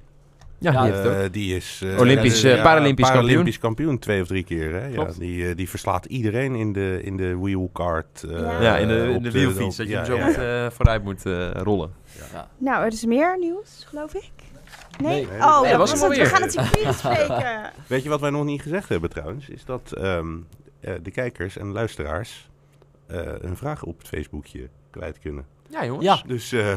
[SPEAKER 1] Ja,
[SPEAKER 2] Ja,
[SPEAKER 1] die
[SPEAKER 2] eh,
[SPEAKER 1] heeft het ook.
[SPEAKER 4] Eh, die is eh,
[SPEAKER 1] Olympisch,
[SPEAKER 4] eh,
[SPEAKER 1] eh, Paralympisch
[SPEAKER 4] Paralympisch kampioen twee of drie keer. Hè? Ja,
[SPEAKER 1] Klopt.
[SPEAKER 4] die, eh, die verslaat iedereen in de, in de wheelcart. eh,
[SPEAKER 3] Ja.
[SPEAKER 1] ja, in de,
[SPEAKER 4] op
[SPEAKER 1] in de wielfiets.
[SPEAKER 4] op-
[SPEAKER 1] Dat je
[SPEAKER 4] ja,
[SPEAKER 1] hem zo
[SPEAKER 4] ja,
[SPEAKER 1] moet,
[SPEAKER 4] ja.
[SPEAKER 1] eh, vooruit moet eh, rollen.
[SPEAKER 2] ja.
[SPEAKER 3] Nou, er is meer nieuws, geloof ik. Nee,
[SPEAKER 2] Nee.
[SPEAKER 3] oh,
[SPEAKER 4] Nee, dat
[SPEAKER 3] dat
[SPEAKER 4] was
[SPEAKER 1] hem
[SPEAKER 3] was het.
[SPEAKER 1] alweer.
[SPEAKER 3] We gaan het circuit bespreken.
[SPEAKER 4] Weet je wat wij nog niet gezegd hebben trouwens? Is dat ehm, eh, de kijkers en luisteraars eh, hun vragen op het Facebookje kwijt kunnen.
[SPEAKER 1] Ja, jongens.
[SPEAKER 2] Ja.
[SPEAKER 4] Dus eh,
[SPEAKER 2] Oh, ik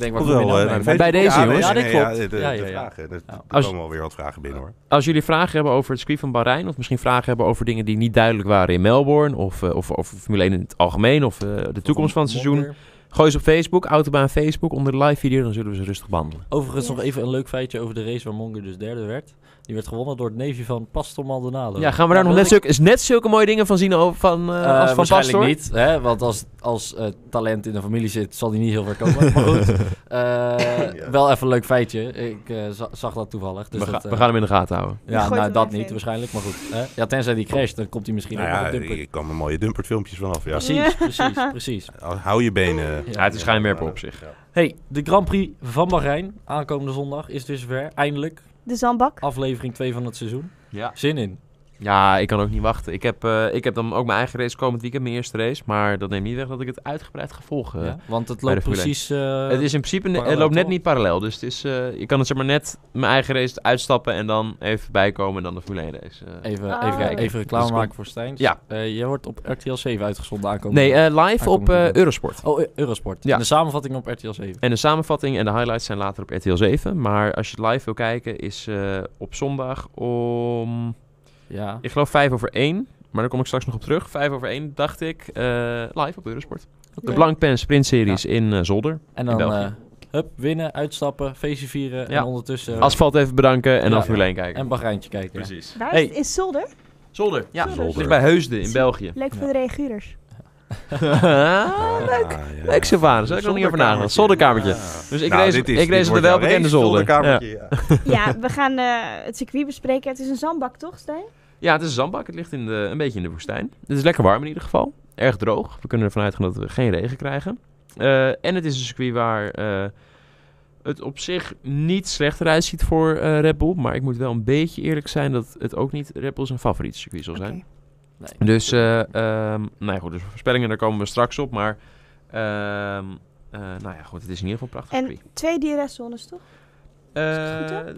[SPEAKER 2] denk, waar
[SPEAKER 4] kom
[SPEAKER 2] kom je
[SPEAKER 4] wel
[SPEAKER 2] nou
[SPEAKER 4] eh,
[SPEAKER 2] mee?
[SPEAKER 4] naar de
[SPEAKER 2] Maar
[SPEAKER 1] bij
[SPEAKER 4] Facebook-
[SPEAKER 1] deze,
[SPEAKER 4] nee,
[SPEAKER 1] jongens.
[SPEAKER 4] nee,
[SPEAKER 2] Ja, dat klopt.
[SPEAKER 4] de,
[SPEAKER 2] Ja, ja, ja.
[SPEAKER 4] de vragen. Er, er
[SPEAKER 2] Ja.
[SPEAKER 1] Als-
[SPEAKER 4] komen alweer wat vragen binnen hoor.
[SPEAKER 1] Als jullie vragen hebben over het circuit van Bahrein... of misschien vragen hebben over dingen die niet duidelijk waren in Melbourne... of, eh, of, of Formule 1 in het algemeen... of eh, de toekomst van het seizoen...
[SPEAKER 2] Modder.
[SPEAKER 1] Gooi ze op Facebook, Autobaan Facebook, onder de live video. Dan zullen we ze rustig behandelen.
[SPEAKER 2] Overigens
[SPEAKER 3] Yes.
[SPEAKER 2] nog even een leuk feitje over de race waar Monger dus derde werd. Die werd gewonnen door het neefje van Pastor Maldonado.
[SPEAKER 1] Ja, gaan we daar nog
[SPEAKER 2] dat
[SPEAKER 1] net,
[SPEAKER 2] ik-
[SPEAKER 1] zulke, is net zulke mooie dingen van zien over, van, eh,
[SPEAKER 2] Nou, Eh,
[SPEAKER 1] als van
[SPEAKER 2] waarschijnlijk
[SPEAKER 1] Pastoor?
[SPEAKER 2] niet, hè, want als, als eh, talent in de familie zit, zal die niet heel ver komen. Maar goed, eh,
[SPEAKER 4] Ja.
[SPEAKER 2] wel even een leuk feitje. Ik eh, za- zag dat toevallig. Dus
[SPEAKER 1] we,
[SPEAKER 2] dat,
[SPEAKER 1] ga-
[SPEAKER 2] eh,
[SPEAKER 1] we gaan hem in de gaten houden.
[SPEAKER 3] Je
[SPEAKER 2] ja,
[SPEAKER 3] gooit
[SPEAKER 2] nou
[SPEAKER 3] hem
[SPEAKER 2] dat
[SPEAKER 3] even
[SPEAKER 2] niet
[SPEAKER 3] in.
[SPEAKER 2] waarschijnlijk, maar goed. hè. Ja, tenzij die crasht, dan komt hij misschien
[SPEAKER 4] Nou
[SPEAKER 2] ook nog
[SPEAKER 4] ja,
[SPEAKER 2] op dumper.
[SPEAKER 4] je kan er mooie dumpertfilmpjes vanaf. Ja.
[SPEAKER 2] Precies, precies, precies.
[SPEAKER 4] Hou je benen.
[SPEAKER 1] Ja, het is schijnwerper op zich.
[SPEAKER 2] Hey, de Grand Prix van Bahrein, aankomende zondag, is dus weer eindelijk
[SPEAKER 3] De zandbak.
[SPEAKER 2] Oh, aflevering 2 van het seizoen.
[SPEAKER 1] Ja.
[SPEAKER 2] Zin in.
[SPEAKER 1] ja, ik kan ook niet wachten. Ik heb, eh, ik heb dan ook mijn eigen race komend weekend, mijn eerste race. Maar dat neemt niet weg dat ik het uitgebreid ga volgen.
[SPEAKER 2] ja, want het
[SPEAKER 1] eh, bij de
[SPEAKER 2] loopt
[SPEAKER 1] Formule één.
[SPEAKER 2] precies... eh,
[SPEAKER 1] het, is in principe, ne- het
[SPEAKER 2] parallel,
[SPEAKER 1] loopt net
[SPEAKER 2] toch?
[SPEAKER 1] niet parallel. Dus het is, eh, je kan het zeg maar net mijn eigen race uitstappen en dan even bijkomen en dan de Formule 1 race. eh.
[SPEAKER 2] Even,
[SPEAKER 3] Ah.
[SPEAKER 2] even, even reclame
[SPEAKER 1] Dat is
[SPEAKER 2] maken voor Stijn. Eh,
[SPEAKER 1] Ja.
[SPEAKER 2] je wordt op RTL 7 uitgezonden aankomen.
[SPEAKER 1] Nee, eh, live
[SPEAKER 2] Aankomend
[SPEAKER 1] op eh,
[SPEAKER 2] weekend.
[SPEAKER 1] Eurosport.
[SPEAKER 2] Oh, Eu- Eurosport.
[SPEAKER 1] Ja.
[SPEAKER 2] En de samenvatting op RTL 7.
[SPEAKER 1] En de samenvatting en de highlights zijn later op RTL 7. Maar als je het live wil kijken, is eh, op zondag om...
[SPEAKER 2] Ja.
[SPEAKER 1] Ik geloof vijf over één. Maar daar kom ik straks nog op terug. Vijf over één, dacht ik. eh, live op Eurosport. De
[SPEAKER 3] Leuk.
[SPEAKER 1] Blank Pen Sprint Series in eh, Zolder.
[SPEAKER 2] En dan,
[SPEAKER 1] in
[SPEAKER 2] eh
[SPEAKER 1] België.
[SPEAKER 2] hup, winnen, uitstappen, feestje vieren
[SPEAKER 1] Ja.
[SPEAKER 2] en ondertussen...
[SPEAKER 1] Asfalt even bedanken en
[SPEAKER 2] Ja.
[SPEAKER 1] dan Formule 1 kijken.
[SPEAKER 2] En Bahreintje kijken.
[SPEAKER 1] Precies.
[SPEAKER 3] Waar
[SPEAKER 1] Hey.
[SPEAKER 3] is het? In Zolder?
[SPEAKER 1] Zolder, ja.
[SPEAKER 4] Zolder.
[SPEAKER 1] Ligt bij Heusden in
[SPEAKER 3] Zo-
[SPEAKER 1] België.
[SPEAKER 3] Leuk voor
[SPEAKER 2] Ja.
[SPEAKER 3] de reaguurders.
[SPEAKER 4] Ah.
[SPEAKER 1] leuk. Leuk, Sylvanus. Daar heb ik nog niet over nagedacht. Zolderkamertje. Dus ik
[SPEAKER 4] Nou,
[SPEAKER 1] race,
[SPEAKER 4] dit is-
[SPEAKER 1] ik
[SPEAKER 4] dit
[SPEAKER 1] race op de
[SPEAKER 4] wordt jouw
[SPEAKER 1] welbekende
[SPEAKER 4] race,
[SPEAKER 1] zolder. Ja.
[SPEAKER 4] zolderkamertje, ja.
[SPEAKER 3] ja, we gaan eh, het circuit bespreken. Het is een zandbak, toch, Stijn?
[SPEAKER 1] ja, het is een zandbak. Het ligt in de, een beetje in de woestijn. Het is lekker warm in ieder geval. Erg droog. We kunnen ervan uitgaan dat we geen regen krijgen. Eh, en het is een circuit waar eh, het op zich niet slechter uitziet voor eh Red Bull. Maar ik moet wel een beetje eerlijk zijn dat het ook niet Red Bull zijn favoriete circuit zal zijn.
[SPEAKER 3] Oké.
[SPEAKER 2] Nee.
[SPEAKER 1] Dus, eh ehm, nou ja, goed, dus voorspellingen, daar komen we straks op. Maar, ehm, eh, nou ja, goed, het is in ieder geval een prachtig
[SPEAKER 3] En
[SPEAKER 1] circuit.
[SPEAKER 3] twee DRS-zones, toch? het goed,
[SPEAKER 1] Eh,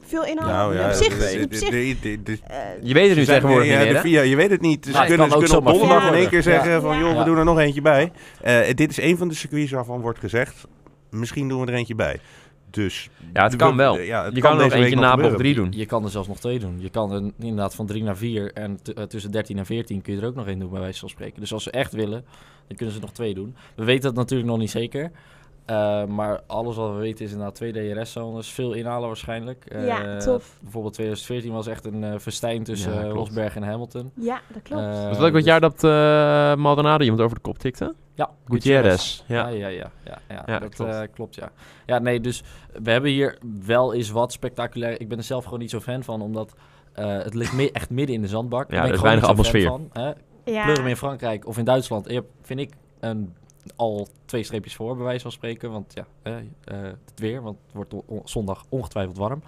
[SPEAKER 3] Veel inhoud.
[SPEAKER 4] Nou ja,
[SPEAKER 3] op zich,
[SPEAKER 4] dit- dit-
[SPEAKER 3] op zich,
[SPEAKER 4] dit- dit- dit-
[SPEAKER 3] eh,
[SPEAKER 1] je weet het nu
[SPEAKER 4] Ze zijn-
[SPEAKER 1] tegenwoordig
[SPEAKER 4] ja,
[SPEAKER 1] niet meer,
[SPEAKER 4] de
[SPEAKER 1] hè?
[SPEAKER 4] via- je weet het niet. Ze
[SPEAKER 2] Nee, het
[SPEAKER 4] kunnen,
[SPEAKER 2] kan
[SPEAKER 4] ze
[SPEAKER 2] ook
[SPEAKER 4] kunnen op
[SPEAKER 2] zomaar
[SPEAKER 4] donderdag in
[SPEAKER 3] veranderen.
[SPEAKER 4] één keer
[SPEAKER 2] Ja.
[SPEAKER 4] zeggen van...
[SPEAKER 3] Ja.
[SPEAKER 4] joh,
[SPEAKER 2] Ja.
[SPEAKER 4] we doen er nog eentje bij. Eh, dit is een van de circuits waarvan wordt gezegd... misschien doen we er eentje bij. Dus...
[SPEAKER 1] Ja, het kan wel.
[SPEAKER 4] we- ja, het
[SPEAKER 1] je kan er nog
[SPEAKER 4] deze week
[SPEAKER 1] eentje na blok
[SPEAKER 4] gebeuren.
[SPEAKER 1] 3 doen.
[SPEAKER 2] Je kan er zelfs nog twee doen. Je kan er inderdaad van drie naar vier en t- eh, tussen 13 en 14 kun je er ook nog één doen, bij wijze van spreken. Dus als ze echt willen, dan kunnen ze nog twee doen. We weten dat natuurlijk nog niet zeker. Eh, maar alles wat we weten is inderdaad twee DRS-zones, veel inhalen waarschijnlijk. Eh,
[SPEAKER 3] Ja, tof.
[SPEAKER 2] Bijvoorbeeld 2014 was echt een eh festijn tussen
[SPEAKER 1] Ja,
[SPEAKER 2] eh,
[SPEAKER 1] klopt.
[SPEAKER 2] Rosberg en Hamilton.
[SPEAKER 3] ja, dat klopt.
[SPEAKER 2] Eh,
[SPEAKER 1] Was het ook het
[SPEAKER 2] dus-
[SPEAKER 1] jaar dat eh, Maldonado iemand over de kop tikte?
[SPEAKER 2] Ja,
[SPEAKER 1] Gutierrez. Ja.
[SPEAKER 2] Ja, ja, ja. ja, ja,
[SPEAKER 1] Ja,
[SPEAKER 2] dat
[SPEAKER 1] klopt.
[SPEAKER 2] klopt. klopt, ja. Ja, nee, dus we hebben hier wel eens wat spectaculair. Ik ben er zelf gewoon niet zo fan van, omdat eh, het ligt mi- echt midden in de zandbak.
[SPEAKER 1] Ja,
[SPEAKER 2] Daar
[SPEAKER 1] er
[SPEAKER 2] ben ik
[SPEAKER 1] is
[SPEAKER 2] gewoon
[SPEAKER 1] weinig
[SPEAKER 2] niet zo fan Van, hè?
[SPEAKER 3] ja.
[SPEAKER 2] Pleur hem in Frankrijk of in Duitsland. Je hebt, vind ik, een, al twee streepjes voor, bij wijze van spreken. Want ja, eh, eh, het weer, want het wordt on- zondag ongetwijfeld warm.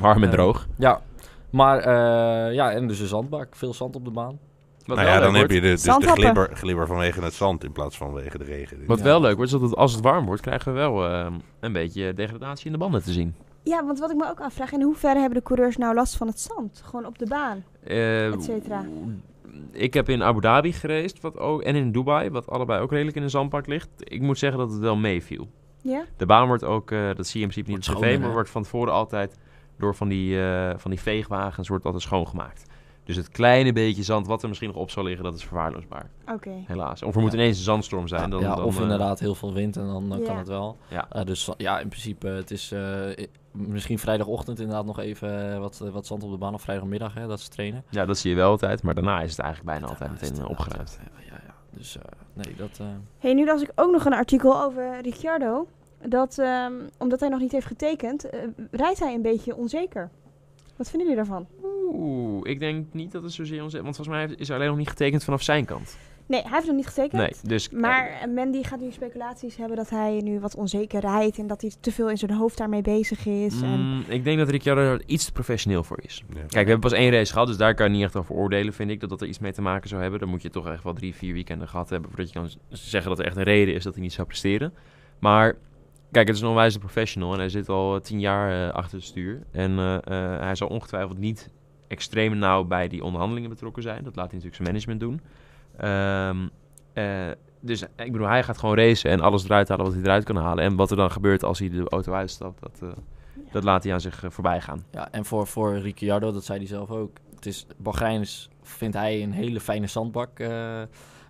[SPEAKER 1] Warm en
[SPEAKER 2] Eh,
[SPEAKER 1] droog.
[SPEAKER 2] Ja, maar eh, ja, en dus een zandbak. Veel zand op de baan.
[SPEAKER 1] Wat
[SPEAKER 4] Nou
[SPEAKER 1] wel
[SPEAKER 4] ja,
[SPEAKER 1] leuk
[SPEAKER 4] dan heb
[SPEAKER 1] wordt-
[SPEAKER 4] je de, dus de
[SPEAKER 3] Zandhappen.
[SPEAKER 4] glibber, glibber vanwege het zand... in plaats van vanwege de regen.
[SPEAKER 1] Wat
[SPEAKER 2] Ja.
[SPEAKER 1] wel leuk wordt, is dat het, als het warm wordt, krijgen we wel ehm, een beetje degradatie in de banden te zien.
[SPEAKER 3] ja, want wat ik me ook afvraag, in hoeverre hebben de coureurs nou last van het zand? Gewoon op de baan.
[SPEAKER 1] Eh,
[SPEAKER 3] Et cetera.
[SPEAKER 1] Ik heb in Abu Dhabi gereisd wat ook, en in Dubai, wat allebei ook redelijk in een zandpak ligt. Ik moet zeggen dat het wel meeviel.
[SPEAKER 3] Ja?
[SPEAKER 1] De baan wordt ook, eh, dat zie je in principe niet
[SPEAKER 2] Wordt
[SPEAKER 1] op tv,
[SPEAKER 2] schoner,
[SPEAKER 1] maar
[SPEAKER 2] hè?
[SPEAKER 1] wordt van tevoren altijd door van die, eh, van die veegwagens wordt altijd schoongemaakt. Dus het kleine beetje zand wat er misschien nog op zou liggen, dat is verwaarloosbaar.
[SPEAKER 3] Oké.
[SPEAKER 1] Helaas. Of er moet ineens een zandstorm zijn.
[SPEAKER 2] Ja,
[SPEAKER 1] dan,
[SPEAKER 2] ja,
[SPEAKER 1] dan,
[SPEAKER 2] of
[SPEAKER 1] eh,
[SPEAKER 2] inderdaad heel veel wind en dan, dan
[SPEAKER 3] Ja.
[SPEAKER 2] kan het wel.
[SPEAKER 1] Ja.
[SPEAKER 2] Eh, dus va- ja, in principe, het is eh, i- misschien vrijdagochtend inderdaad nog even eh, wat, eh, wat zand op de baan of vrijdagmiddag, hè, dat ze trainen.
[SPEAKER 1] ja, dat zie je wel altijd. Maar daarna is het eigenlijk bijna altijd
[SPEAKER 2] Daarna is
[SPEAKER 1] meteen eh,
[SPEAKER 2] het inderdaad,
[SPEAKER 1] opgeruimd.
[SPEAKER 2] eh, Ja, ja, Dus eh, nee, dat... eh,
[SPEAKER 3] Hey, nu las ik ook nog een artikel over Ricciardo. Dat, ehm, omdat hij nog niet heeft getekend, eh, rijdt hij een beetje onzeker. Wat vinden jullie daarvan?
[SPEAKER 1] Oeh, ik denk niet dat het zozeer ons... Want volgens mij is er alleen nog niet getekend vanaf zijn kant.
[SPEAKER 3] Nee, hij heeft nog niet getekend.
[SPEAKER 1] Nee, dus...
[SPEAKER 3] Maar eh, Mandy gaat nu speculaties hebben dat hij nu wat onzeker rijdt. En dat hij te veel in zijn hoofd daarmee bezig is. En...
[SPEAKER 1] Mm, ik denk dat Ricciardo er iets te professioneel voor is.
[SPEAKER 4] Ja.
[SPEAKER 1] Kijk, we hebben pas één race gehad, dus daar kan je niet echt over oordelen, vind ik. Dat dat er iets mee te maken zou hebben. Dan moet je toch echt wel drie, vier weekenden gehad hebben... voordat je kan z- zeggen dat er echt een reden is dat hij niet zou presteren. Maar kijk, het is een onwijze professional... en hij zit al eh, tien jaar eh, achter het stuur. En eh, eh, hij zal ongetwijfeld niet extreem nauw bij die onderhandelingen betrokken zijn. Dat laat hij natuurlijk zijn management doen. Ehm, eh, dus eh, ik bedoel, hij gaat gewoon racen en alles eruit halen wat hij eruit kan halen. En wat er dan gebeurt als hij de auto uitstapt, dat, eh, dat laat hij aan zich eh, voorbij gaan.
[SPEAKER 2] ja, en voor, voor Ricciardo, dat zei hij zelf ook, het is, Bahrein is, vindt hij een hele fijne zandbak. eh,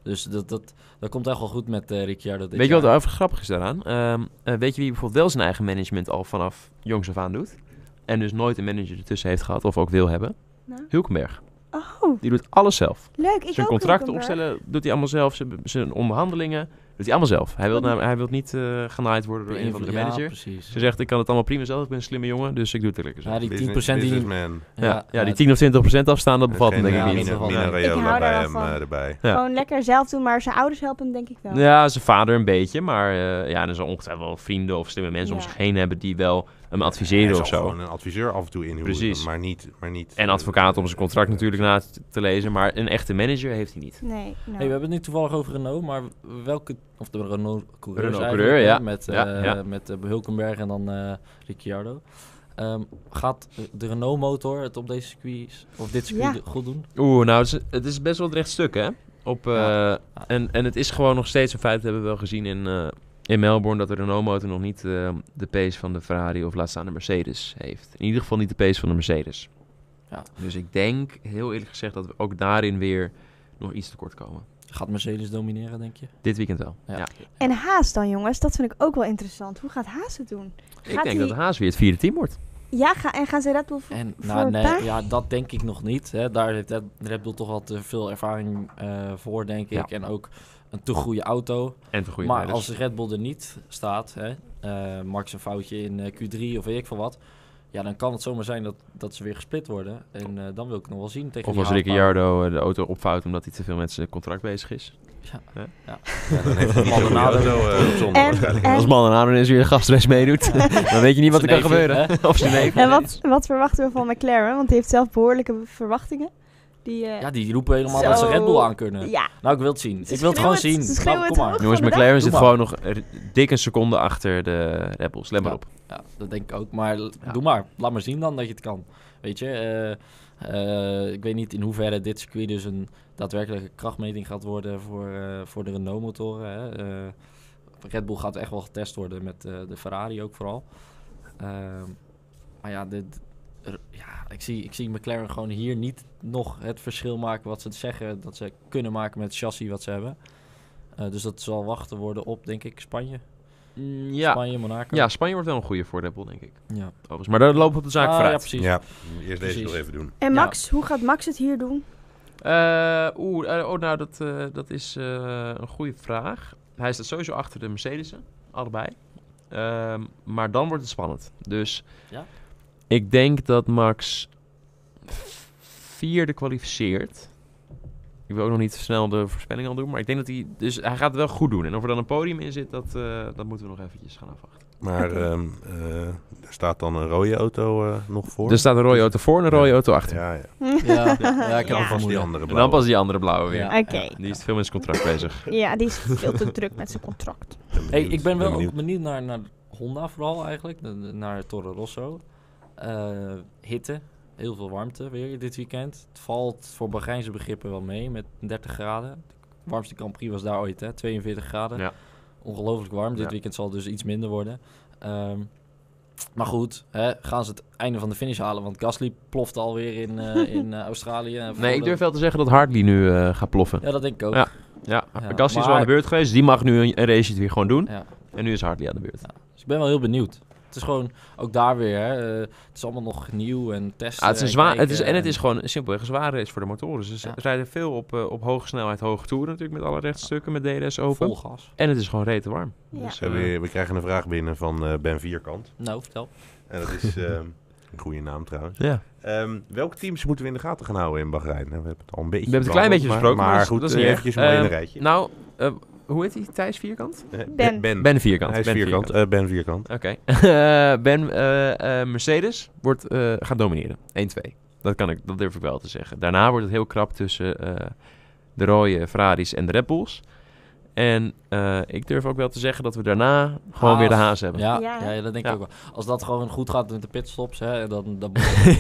[SPEAKER 2] dus dat, dat, dat komt echt wel goed met eh, Ricciardo dit
[SPEAKER 1] weet je wat
[SPEAKER 2] jaar.
[SPEAKER 1] er overigens grappig is daaraan? Ehm, eh, weet je wie bijvoorbeeld wel zijn eigen management al vanaf jongs af aan doet? En dus nooit een manager ertussen heeft gehad of ook wil hebben?
[SPEAKER 3] Nou.
[SPEAKER 1] Hulkenberg.
[SPEAKER 3] Oh,
[SPEAKER 1] Die doet alles zelf.
[SPEAKER 3] leuk. Ik
[SPEAKER 1] zijn
[SPEAKER 3] ook,
[SPEAKER 1] contracten
[SPEAKER 3] Hulkenberg.
[SPEAKER 1] opstellen doet hij allemaal zelf. Zijn, zijn onderhandelingen doet hij allemaal zelf. Hij wil,
[SPEAKER 3] Wat-
[SPEAKER 1] nam- hij wil niet eh, genaaid worden door een of andere
[SPEAKER 2] Ja,
[SPEAKER 1] manager.
[SPEAKER 2] precies.
[SPEAKER 1] Ze zegt, ik kan het allemaal prima zelf, ik ben een slimme jongen, dus ik doe het er lekker zelf.
[SPEAKER 2] Ja, die 10%
[SPEAKER 4] Business-
[SPEAKER 2] die...
[SPEAKER 4] businessman. eh,
[SPEAKER 1] Ja, ja, die 10 of 20 procent afstaan, dat bevalt hem denk ik
[SPEAKER 2] ja, eh,
[SPEAKER 1] niet. eh,
[SPEAKER 2] dat
[SPEAKER 4] Mina,
[SPEAKER 2] wel.
[SPEAKER 4] Mina
[SPEAKER 2] Ik
[SPEAKER 4] Raiola
[SPEAKER 3] hou daar
[SPEAKER 4] bij
[SPEAKER 3] wel
[SPEAKER 4] hem
[SPEAKER 3] van.
[SPEAKER 4] eh, erbij.
[SPEAKER 1] Ja.
[SPEAKER 3] Gewoon lekker zelf doen, maar zijn ouders helpen hem denk ik wel.
[SPEAKER 1] Ja, zijn vader een beetje, maar eh, ja, dan zal ongetwijfeld wel vrienden of slimme mensen om
[SPEAKER 3] Ja.
[SPEAKER 1] zich heen hebben die wel hem
[SPEAKER 4] Hij
[SPEAKER 1] adviseren
[SPEAKER 4] zal
[SPEAKER 1] of zo.
[SPEAKER 4] gewoon een adviseur af en toe inhuren.
[SPEAKER 1] Precies.
[SPEAKER 4] Maar niet... Maar niet eh,
[SPEAKER 1] En advocaat om zijn contract natuurlijk na te- te lezen, maar een echte manager heeft hij niet.
[SPEAKER 3] Nee, nou.
[SPEAKER 2] Hey, we hebben het nu toevallig over Renault, maar welke... Of de Renault-coureur
[SPEAKER 1] Renault coureur, ja.
[SPEAKER 2] Met, eh
[SPEAKER 1] Ja, ja.
[SPEAKER 2] met eh, Hulkenberg en dan eh, Ricciardo. Ehm, gaat de Renault-motor het op deze circuit, of dit circuit
[SPEAKER 3] Ja.
[SPEAKER 2] goed doen?
[SPEAKER 1] Oeh, nou, het is, het is best wel een recht stuk, hè? Op, eh,
[SPEAKER 2] Ja.
[SPEAKER 1] en, en het is gewoon nog steeds een feit, dat hebben we wel gezien in, eh, in Melbourne, dat de Renault-motor nog niet eh, de pace van de Ferrari of laat staan de Mercedes heeft. In ieder geval niet de pace van de Mercedes.
[SPEAKER 2] Ja.
[SPEAKER 1] Dus ik denk, heel eerlijk gezegd, dat we ook daarin weer nog iets tekort komen.
[SPEAKER 2] Gaat Mercedes domineren, denk je?
[SPEAKER 1] Dit weekend wel. Ja.
[SPEAKER 2] Ja.
[SPEAKER 3] En Haas dan, jongens. Dat vind ik ook wel interessant. Hoe gaat Haas het doen?
[SPEAKER 1] Ik denk
[SPEAKER 3] hij-
[SPEAKER 1] dat Haas weer het vierde team wordt.
[SPEAKER 3] Ja, ga, en gaan ze Red Bull voor...
[SPEAKER 2] En,
[SPEAKER 3] voor
[SPEAKER 2] nou, nee,
[SPEAKER 3] Parijs?
[SPEAKER 2] ja, dat denk ik nog niet. Hè. Daar heeft Red- Red Bull toch wel te veel ervaring eh, voor, denk ik.
[SPEAKER 1] Ja.
[SPEAKER 2] En ook een te goede auto.
[SPEAKER 1] En voor goede
[SPEAKER 2] maar
[SPEAKER 1] rijders.
[SPEAKER 2] als Red Bull er niet staat, hè, eh, Max een foutje in eh, Q3 of weet ik veel wat. Ja, dan kan het zomaar zijn dat, dat ze weer gesplit worden. En eh, dan wil ik nog wel zien tegen
[SPEAKER 1] Of
[SPEAKER 2] die
[SPEAKER 1] als
[SPEAKER 2] houtbouw.
[SPEAKER 1] Ricciardo eh, de auto opfout omdat hij te veel met zijn contract bezig is.
[SPEAKER 4] Dan heeft hij niet zo'n goede
[SPEAKER 2] Maldonado.
[SPEAKER 4] auto, eh, op zondag
[SPEAKER 3] En-
[SPEAKER 4] waarschijnlijk.
[SPEAKER 3] en-
[SPEAKER 1] Als Maldonado ineens weer een gastrace meedoet, dan weet je niet wat er kan
[SPEAKER 2] Zijn neefje,
[SPEAKER 1] gebeuren. Of zijn neef.
[SPEAKER 3] En wat, wat verwachten we van McLaren? Want die heeft zelf behoorlijke verwachtingen. Die, eh,
[SPEAKER 2] Ja, die roepen helemaal
[SPEAKER 3] Zo.
[SPEAKER 2] dat ze Red Bull aan kunnen.
[SPEAKER 3] ja,
[SPEAKER 2] Nou, ik wil het zien.
[SPEAKER 3] Ze
[SPEAKER 2] ik wil het gewoon zien.
[SPEAKER 3] schreeuwen het- ze
[SPEAKER 2] Nou,
[SPEAKER 3] schreeuwen
[SPEAKER 2] kom
[SPEAKER 3] het
[SPEAKER 2] maar.
[SPEAKER 3] hoog.
[SPEAKER 1] Jongens,
[SPEAKER 3] Van de
[SPEAKER 1] McLaren
[SPEAKER 2] dag.
[SPEAKER 1] zit
[SPEAKER 2] Doe
[SPEAKER 1] gewoon nog eh, dik een seconde achter de Red Bulls. Let maar
[SPEAKER 2] Ja.
[SPEAKER 1] op.
[SPEAKER 2] Ja, dat denk ik ook. Maar l- doe maar. Laat maar zien dan dat je het kan. Weet je, eh, eh, ik weet niet in hoeverre dit circuit dus een daadwerkelijke krachtmeting gaat worden voor, eh, voor de Renault-motoren. Hè. Eh, Red Bull gaat echt wel getest worden met eh, de Ferrari ook vooral. Ehm, maar ja, dit, er- ja ik, zie, ik zie McLaren gewoon hier niet nog het verschil maken wat ze zeggen dat ze kunnen maken met het chassis wat ze hebben. Eh, dus dat zal wachten worden op, denk ik, Spanje. Mm,
[SPEAKER 1] Ja.
[SPEAKER 2] Spanje, Monaco.
[SPEAKER 1] ja, Spanje wordt wel een goede voor Red Bull, denk ik.
[SPEAKER 2] ja.
[SPEAKER 1] Overigens. Maar daar lopen we op de zaak
[SPEAKER 2] Ah, Ja,
[SPEAKER 1] vooruit.
[SPEAKER 2] precies.
[SPEAKER 4] Ja, eerst deze
[SPEAKER 2] Precies.
[SPEAKER 4] nog even doen.
[SPEAKER 3] En
[SPEAKER 2] Ja.
[SPEAKER 3] Max, hoe gaat Max het hier doen?
[SPEAKER 1] Eh, Oeh, eh, oh, nou, dat, eh, dat is eh, een goede vraag. Hij staat sowieso achter de Mercedes'en, allebei. Ehm, maar dan wordt het spannend. Dus
[SPEAKER 2] Ja.
[SPEAKER 1] ik denk dat Max vierde kwalificeert. Ik wil ook nog niet snel de voorspelling al doen, maar ik denk dat hij... Dus hij gaat het wel goed doen. En of er dan een podium in zit, dat, eh, dat moeten we nog eventjes gaan afwachten.
[SPEAKER 4] Maar
[SPEAKER 3] Oké.
[SPEAKER 4] ehm, eh, er staat dan een rode auto eh, nog voor.
[SPEAKER 1] Er staat een rode auto voor en een
[SPEAKER 4] Ja.
[SPEAKER 1] rode auto achter.
[SPEAKER 4] ja, ja.
[SPEAKER 2] Ja, ja, ik
[SPEAKER 4] Dan
[SPEAKER 2] heb
[SPEAKER 3] Ja.
[SPEAKER 2] ja.
[SPEAKER 4] vast die andere
[SPEAKER 1] En dan
[SPEAKER 4] blauwe.
[SPEAKER 1] pas die andere blauwe weer.
[SPEAKER 2] Ja.
[SPEAKER 3] Oké.
[SPEAKER 1] Die is veel met zijn contract bezig.
[SPEAKER 3] Ja, die is veel te druk met zijn contract.
[SPEAKER 4] ben
[SPEAKER 2] Hey,
[SPEAKER 4] benieuwd,
[SPEAKER 2] ik ben wel ook
[SPEAKER 4] benieuwd.
[SPEAKER 2] benieuwd, naar, naar Honda vooral eigenlijk, de- de- naar Toro Rosso. Eh, hitte, heel veel warmte weer dit weekend. Het valt voor Bahreinse begrippen wel mee met 30 graden. De warmste Grand Prix was daar ooit, hè? 42 graden.
[SPEAKER 1] Ja.
[SPEAKER 2] Ongelooflijk warm.
[SPEAKER 1] Ja.
[SPEAKER 2] Dit weekend zal het dus iets minder worden. Ehm, maar goed, hè, gaan ze het einde van de finish halen? Want Gasly ploft alweer in, eh, in eh, Australië.
[SPEAKER 1] Nee, ik
[SPEAKER 2] Voordat-
[SPEAKER 1] durf wel te zeggen dat Hartley nu eh, gaat ploffen.
[SPEAKER 2] Ja, dat denk ik ook.
[SPEAKER 1] Ja. Ja,
[SPEAKER 2] Ja,
[SPEAKER 1] Gasly is wel
[SPEAKER 2] maar-
[SPEAKER 1] aan de beurt geweest. Die mag nu een, een race weer gewoon doen.
[SPEAKER 2] Ja.
[SPEAKER 1] En nu is Hartley aan de beurt.
[SPEAKER 2] Dus ik ben wel heel benieuwd. Het is gewoon, ook daar weer, hè, eh, het is allemaal nog nieuw en testen.
[SPEAKER 1] Ah, het is een
[SPEAKER 2] en
[SPEAKER 1] zwaar, het
[SPEAKER 2] kijken
[SPEAKER 1] is, en het
[SPEAKER 2] en-
[SPEAKER 1] is gewoon simpelweg een zware race voor de motoren. Ze
[SPEAKER 2] eh, Ja.
[SPEAKER 1] rijden veel op, eh, op hoge snelheid, hoge toeren natuurlijk met alle rechtstukken, met DRS open.
[SPEAKER 2] Vol gas.
[SPEAKER 1] En het is gewoon rete warm.
[SPEAKER 3] Ja.
[SPEAKER 1] Dus,
[SPEAKER 4] We,
[SPEAKER 1] eh,
[SPEAKER 4] hebben- we krijgen een vraag binnen van eh, Ben Vierkant.
[SPEAKER 2] Nou, vertel.
[SPEAKER 4] En dat is ehm, een goede naam trouwens.
[SPEAKER 1] ja.
[SPEAKER 4] Ehm, welke teams moeten we in de gaten gaan houden in Bahrein? Nou, we hebben het al een beetje
[SPEAKER 1] We hebben het een klein beetje besproken,
[SPEAKER 4] behandeld, Maar,
[SPEAKER 1] maar dat is-
[SPEAKER 4] goed,
[SPEAKER 1] dat is
[SPEAKER 4] eh,
[SPEAKER 1] niet erg.
[SPEAKER 4] eventjes maar in een
[SPEAKER 1] Ehm,
[SPEAKER 4] rijtje.
[SPEAKER 1] Nou, eh, hoe heet hij? Thijs Vierkant?
[SPEAKER 4] Eh,
[SPEAKER 3] Ben.
[SPEAKER 4] Ben.
[SPEAKER 1] Ben Vierkant. Oh.
[SPEAKER 4] Hij is
[SPEAKER 1] ben
[SPEAKER 4] vierkant. Eh, ben Vierkant.
[SPEAKER 1] Oké. Eh, ben eh, eh, Mercedes wordt, eh, gaat domineren. 1-2. Dat, kan ik, dat durf ik wel te zeggen. Daarna wordt het heel krap tussen eh, de rode Ferraris en de Red Bulls. En eh, ik durf ook wel te zeggen dat we daarna gewoon
[SPEAKER 2] Haas.
[SPEAKER 1] weer de Haas hebben. Ja,
[SPEAKER 2] Ja,
[SPEAKER 3] Ja,
[SPEAKER 2] ja,
[SPEAKER 3] hè?
[SPEAKER 2] dat denk
[SPEAKER 1] Ja.
[SPEAKER 2] ik ook wel. Als dat gewoon goed gaat met de pitstops, hè, dan... dan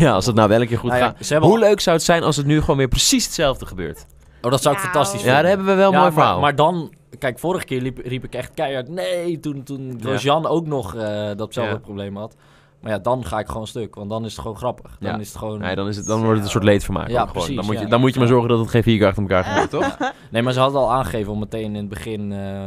[SPEAKER 1] als het nou wel een keer goed
[SPEAKER 2] Nou ja,
[SPEAKER 1] gaat.
[SPEAKER 2] ze hebben
[SPEAKER 1] Hoe
[SPEAKER 2] al-
[SPEAKER 1] leuk zou het zijn als het nu gewoon weer precies hetzelfde gebeurt?
[SPEAKER 2] Oh, dat zou ik
[SPEAKER 3] Nou.
[SPEAKER 2] fantastisch
[SPEAKER 1] Ja,
[SPEAKER 2] vinden.
[SPEAKER 1] daar hebben we wel een
[SPEAKER 2] Ja,
[SPEAKER 1] mooi
[SPEAKER 2] maar,
[SPEAKER 1] verhaal.
[SPEAKER 2] Maar dan, kijk, vorige keer liep, riep ik echt keihard nee, toen, toen Grosjean ook nog eh, datzelfde
[SPEAKER 1] Ja.
[SPEAKER 2] probleem had. Maar ja, dan ga ik gewoon stuk, want dan is het gewoon grappig. Dan
[SPEAKER 1] Ja.
[SPEAKER 2] is het gewoon...
[SPEAKER 1] nee, dan, is het, dan wordt het een soort leedvermaak.
[SPEAKER 2] Ja,
[SPEAKER 1] ook gewoon.
[SPEAKER 2] precies,
[SPEAKER 1] dan, moet je,
[SPEAKER 2] ja.
[SPEAKER 1] dan moet je maar zorgen dat het geen vier keer achter elkaar gebeurt, toch?
[SPEAKER 2] Nee, maar ze hadden al aangegeven om meteen in het begin eh,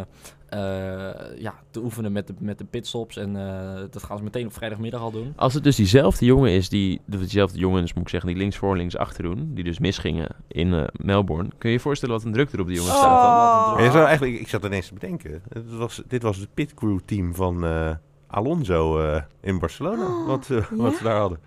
[SPEAKER 2] eh, ja, te oefenen met de, met de pitstops. En eh, dat gaan ze meteen op vrijdagmiddag al doen.
[SPEAKER 1] Als het dus diezelfde jongen is, die, of diezelfde jongens moet ik zeggen, die links voor links achter doen, die dus misgingen in eh, Melbourne, kun je je voorstellen wat een druk er op die jongens
[SPEAKER 3] Oh.
[SPEAKER 1] staat dan?
[SPEAKER 4] Ja, je zou eigenlijk, ik zat ineens te bedenken. Het was, dit was het pitcrew team van eh, Alonso eh, in Barcelona.
[SPEAKER 1] Oh,
[SPEAKER 4] wat, eh, wat ze daar hadden.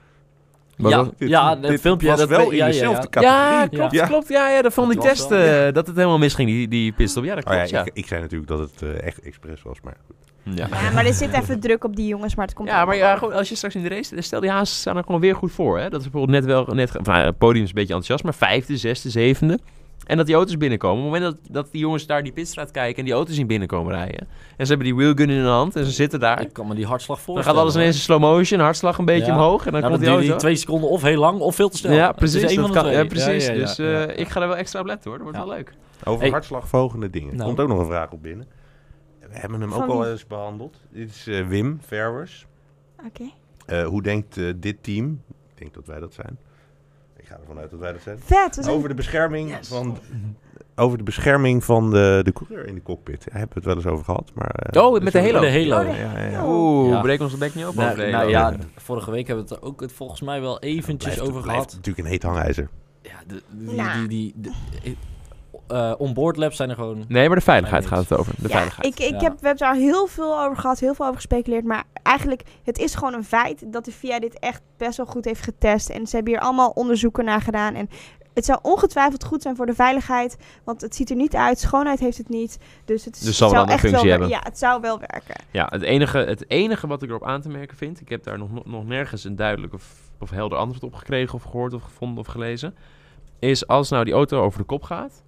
[SPEAKER 1] Maar
[SPEAKER 2] ja,
[SPEAKER 1] dat-
[SPEAKER 4] Dit-
[SPEAKER 2] ja,
[SPEAKER 4] dit
[SPEAKER 2] dat filmpje.
[SPEAKER 4] was
[SPEAKER 2] dat
[SPEAKER 4] wel
[SPEAKER 2] weet-
[SPEAKER 4] in
[SPEAKER 2] ja, ja,
[SPEAKER 4] dezelfde
[SPEAKER 2] ja.
[SPEAKER 4] categorie.
[SPEAKER 1] Ja, klopt,
[SPEAKER 4] Ja.
[SPEAKER 1] klopt. Ja, ja, dat van die
[SPEAKER 2] Dat was
[SPEAKER 1] test,
[SPEAKER 2] wel,
[SPEAKER 1] eh, dat het helemaal misging, die, die pitstop. Ja, dat
[SPEAKER 4] Oh ja,
[SPEAKER 1] klopt, ja.
[SPEAKER 4] Ik, ik zei natuurlijk dat het eh, echt expres was, maar goed.
[SPEAKER 1] Ja.
[SPEAKER 3] Ja, maar er zit even druk op die jongens, maar het komt
[SPEAKER 1] Ja, maar
[SPEAKER 3] allemaal
[SPEAKER 1] ja,
[SPEAKER 3] wel.
[SPEAKER 1] gewoon, als je straks in de race... Stel, die haas staan er gewoon weer goed voor. Hè? Dat is bijvoorbeeld net wel... Net, ge- nou, het podium is een beetje enthousiast, maar vijfde, zesde, zevende. En dat die auto's binnenkomen. Op het moment dat, dat die jongens daar die pitstraat kijken... en die auto's zien binnenkomen rijden... en ze hebben die wheelgun in hun hand en ze zitten daar...
[SPEAKER 2] Ik kan me die hartslag
[SPEAKER 1] Dan
[SPEAKER 2] voorstellen.
[SPEAKER 1] gaat alles ineens in slow motion, hartslag een beetje
[SPEAKER 2] Ja.
[SPEAKER 1] omhoog en dan komt
[SPEAKER 2] Nou, dan
[SPEAKER 1] die
[SPEAKER 2] duurt die
[SPEAKER 1] auto.
[SPEAKER 2] twee seconden of heel lang of veel te snel.
[SPEAKER 1] ja,
[SPEAKER 2] Het is
[SPEAKER 1] precies.
[SPEAKER 2] één
[SPEAKER 1] dat
[SPEAKER 2] van de
[SPEAKER 1] kan-
[SPEAKER 2] twee.
[SPEAKER 1] ja, precies.
[SPEAKER 2] ja, ja,
[SPEAKER 1] dus
[SPEAKER 2] ja.
[SPEAKER 1] eh,
[SPEAKER 2] Ja.
[SPEAKER 1] ik ga er wel extra op letten hoor. Dat wordt
[SPEAKER 2] Ja.
[SPEAKER 1] wel leuk.
[SPEAKER 4] Over
[SPEAKER 2] Hey.
[SPEAKER 4] hartslagverhogende dingen.
[SPEAKER 2] Nou.
[SPEAKER 4] Komt ook nog een vraag op binnen. We hebben hem
[SPEAKER 3] Van
[SPEAKER 4] ook al
[SPEAKER 3] wie?
[SPEAKER 4] eens behandeld. Dit is eh, Wim Verwers.
[SPEAKER 3] Oké.
[SPEAKER 4] Eh, hoe denkt eh, dit team, ik denk dat wij dat zijn. Ik ga ervan uit dat wij dat zijn.
[SPEAKER 3] Vet. we zijn-
[SPEAKER 4] Over de bescherming
[SPEAKER 1] Yes.
[SPEAKER 4] van over de bescherming van de, de coureur in de cockpit. Daar hebben we het wel eens over gehad. Maar, eh,
[SPEAKER 1] Oh, met
[SPEAKER 4] dus
[SPEAKER 1] de
[SPEAKER 4] we-
[SPEAKER 1] halo.
[SPEAKER 2] De halo.
[SPEAKER 4] Ja, ja, ja.
[SPEAKER 1] Oeh,
[SPEAKER 2] Ja.
[SPEAKER 1] breek ons de bek niet op.
[SPEAKER 2] Nou,
[SPEAKER 1] over de
[SPEAKER 2] nou
[SPEAKER 1] hele-
[SPEAKER 2] ja,
[SPEAKER 4] Ja.
[SPEAKER 2] vorige week hebben we het er ook het volgens mij wel eventjes
[SPEAKER 4] Blijft-
[SPEAKER 2] over
[SPEAKER 4] blijft
[SPEAKER 2] gehad.
[SPEAKER 4] natuurlijk een heet hangijzer.
[SPEAKER 2] Ja, de, die,
[SPEAKER 3] Nou.
[SPEAKER 2] die, die, de- eh, eh, onboard labs zijn er gewoon...
[SPEAKER 1] Nee, maar de veiligheid
[SPEAKER 2] Nee,
[SPEAKER 1] gaat het over. De
[SPEAKER 3] Ja,
[SPEAKER 1] veiligheid.
[SPEAKER 3] ik, ik
[SPEAKER 2] Ja.
[SPEAKER 3] Heb, we hebben daar heel veel over gehad, heel veel over gespeculeerd. Maar eigenlijk, het is gewoon een feit dat de VIA dit echt best wel goed heeft getest. En ze hebben hier allemaal onderzoeken naar gedaan. En het zou ongetwijfeld goed zijn voor de veiligheid. Want het ziet er niet uit, schoonheid heeft het niet. Dus het, is,
[SPEAKER 1] Dus zal
[SPEAKER 3] het
[SPEAKER 1] wel
[SPEAKER 3] zou
[SPEAKER 1] een
[SPEAKER 3] echt
[SPEAKER 1] functie
[SPEAKER 3] wel,
[SPEAKER 1] hebben.
[SPEAKER 3] Ja, het zou wel werken.
[SPEAKER 1] Ja, het enige, het enige wat ik erop aan te merken vind, ik heb daar nog, nog nergens een duidelijk of, of helder antwoord op gekregen of gehoord of gevonden of gelezen, is als nou die auto over de kop gaat,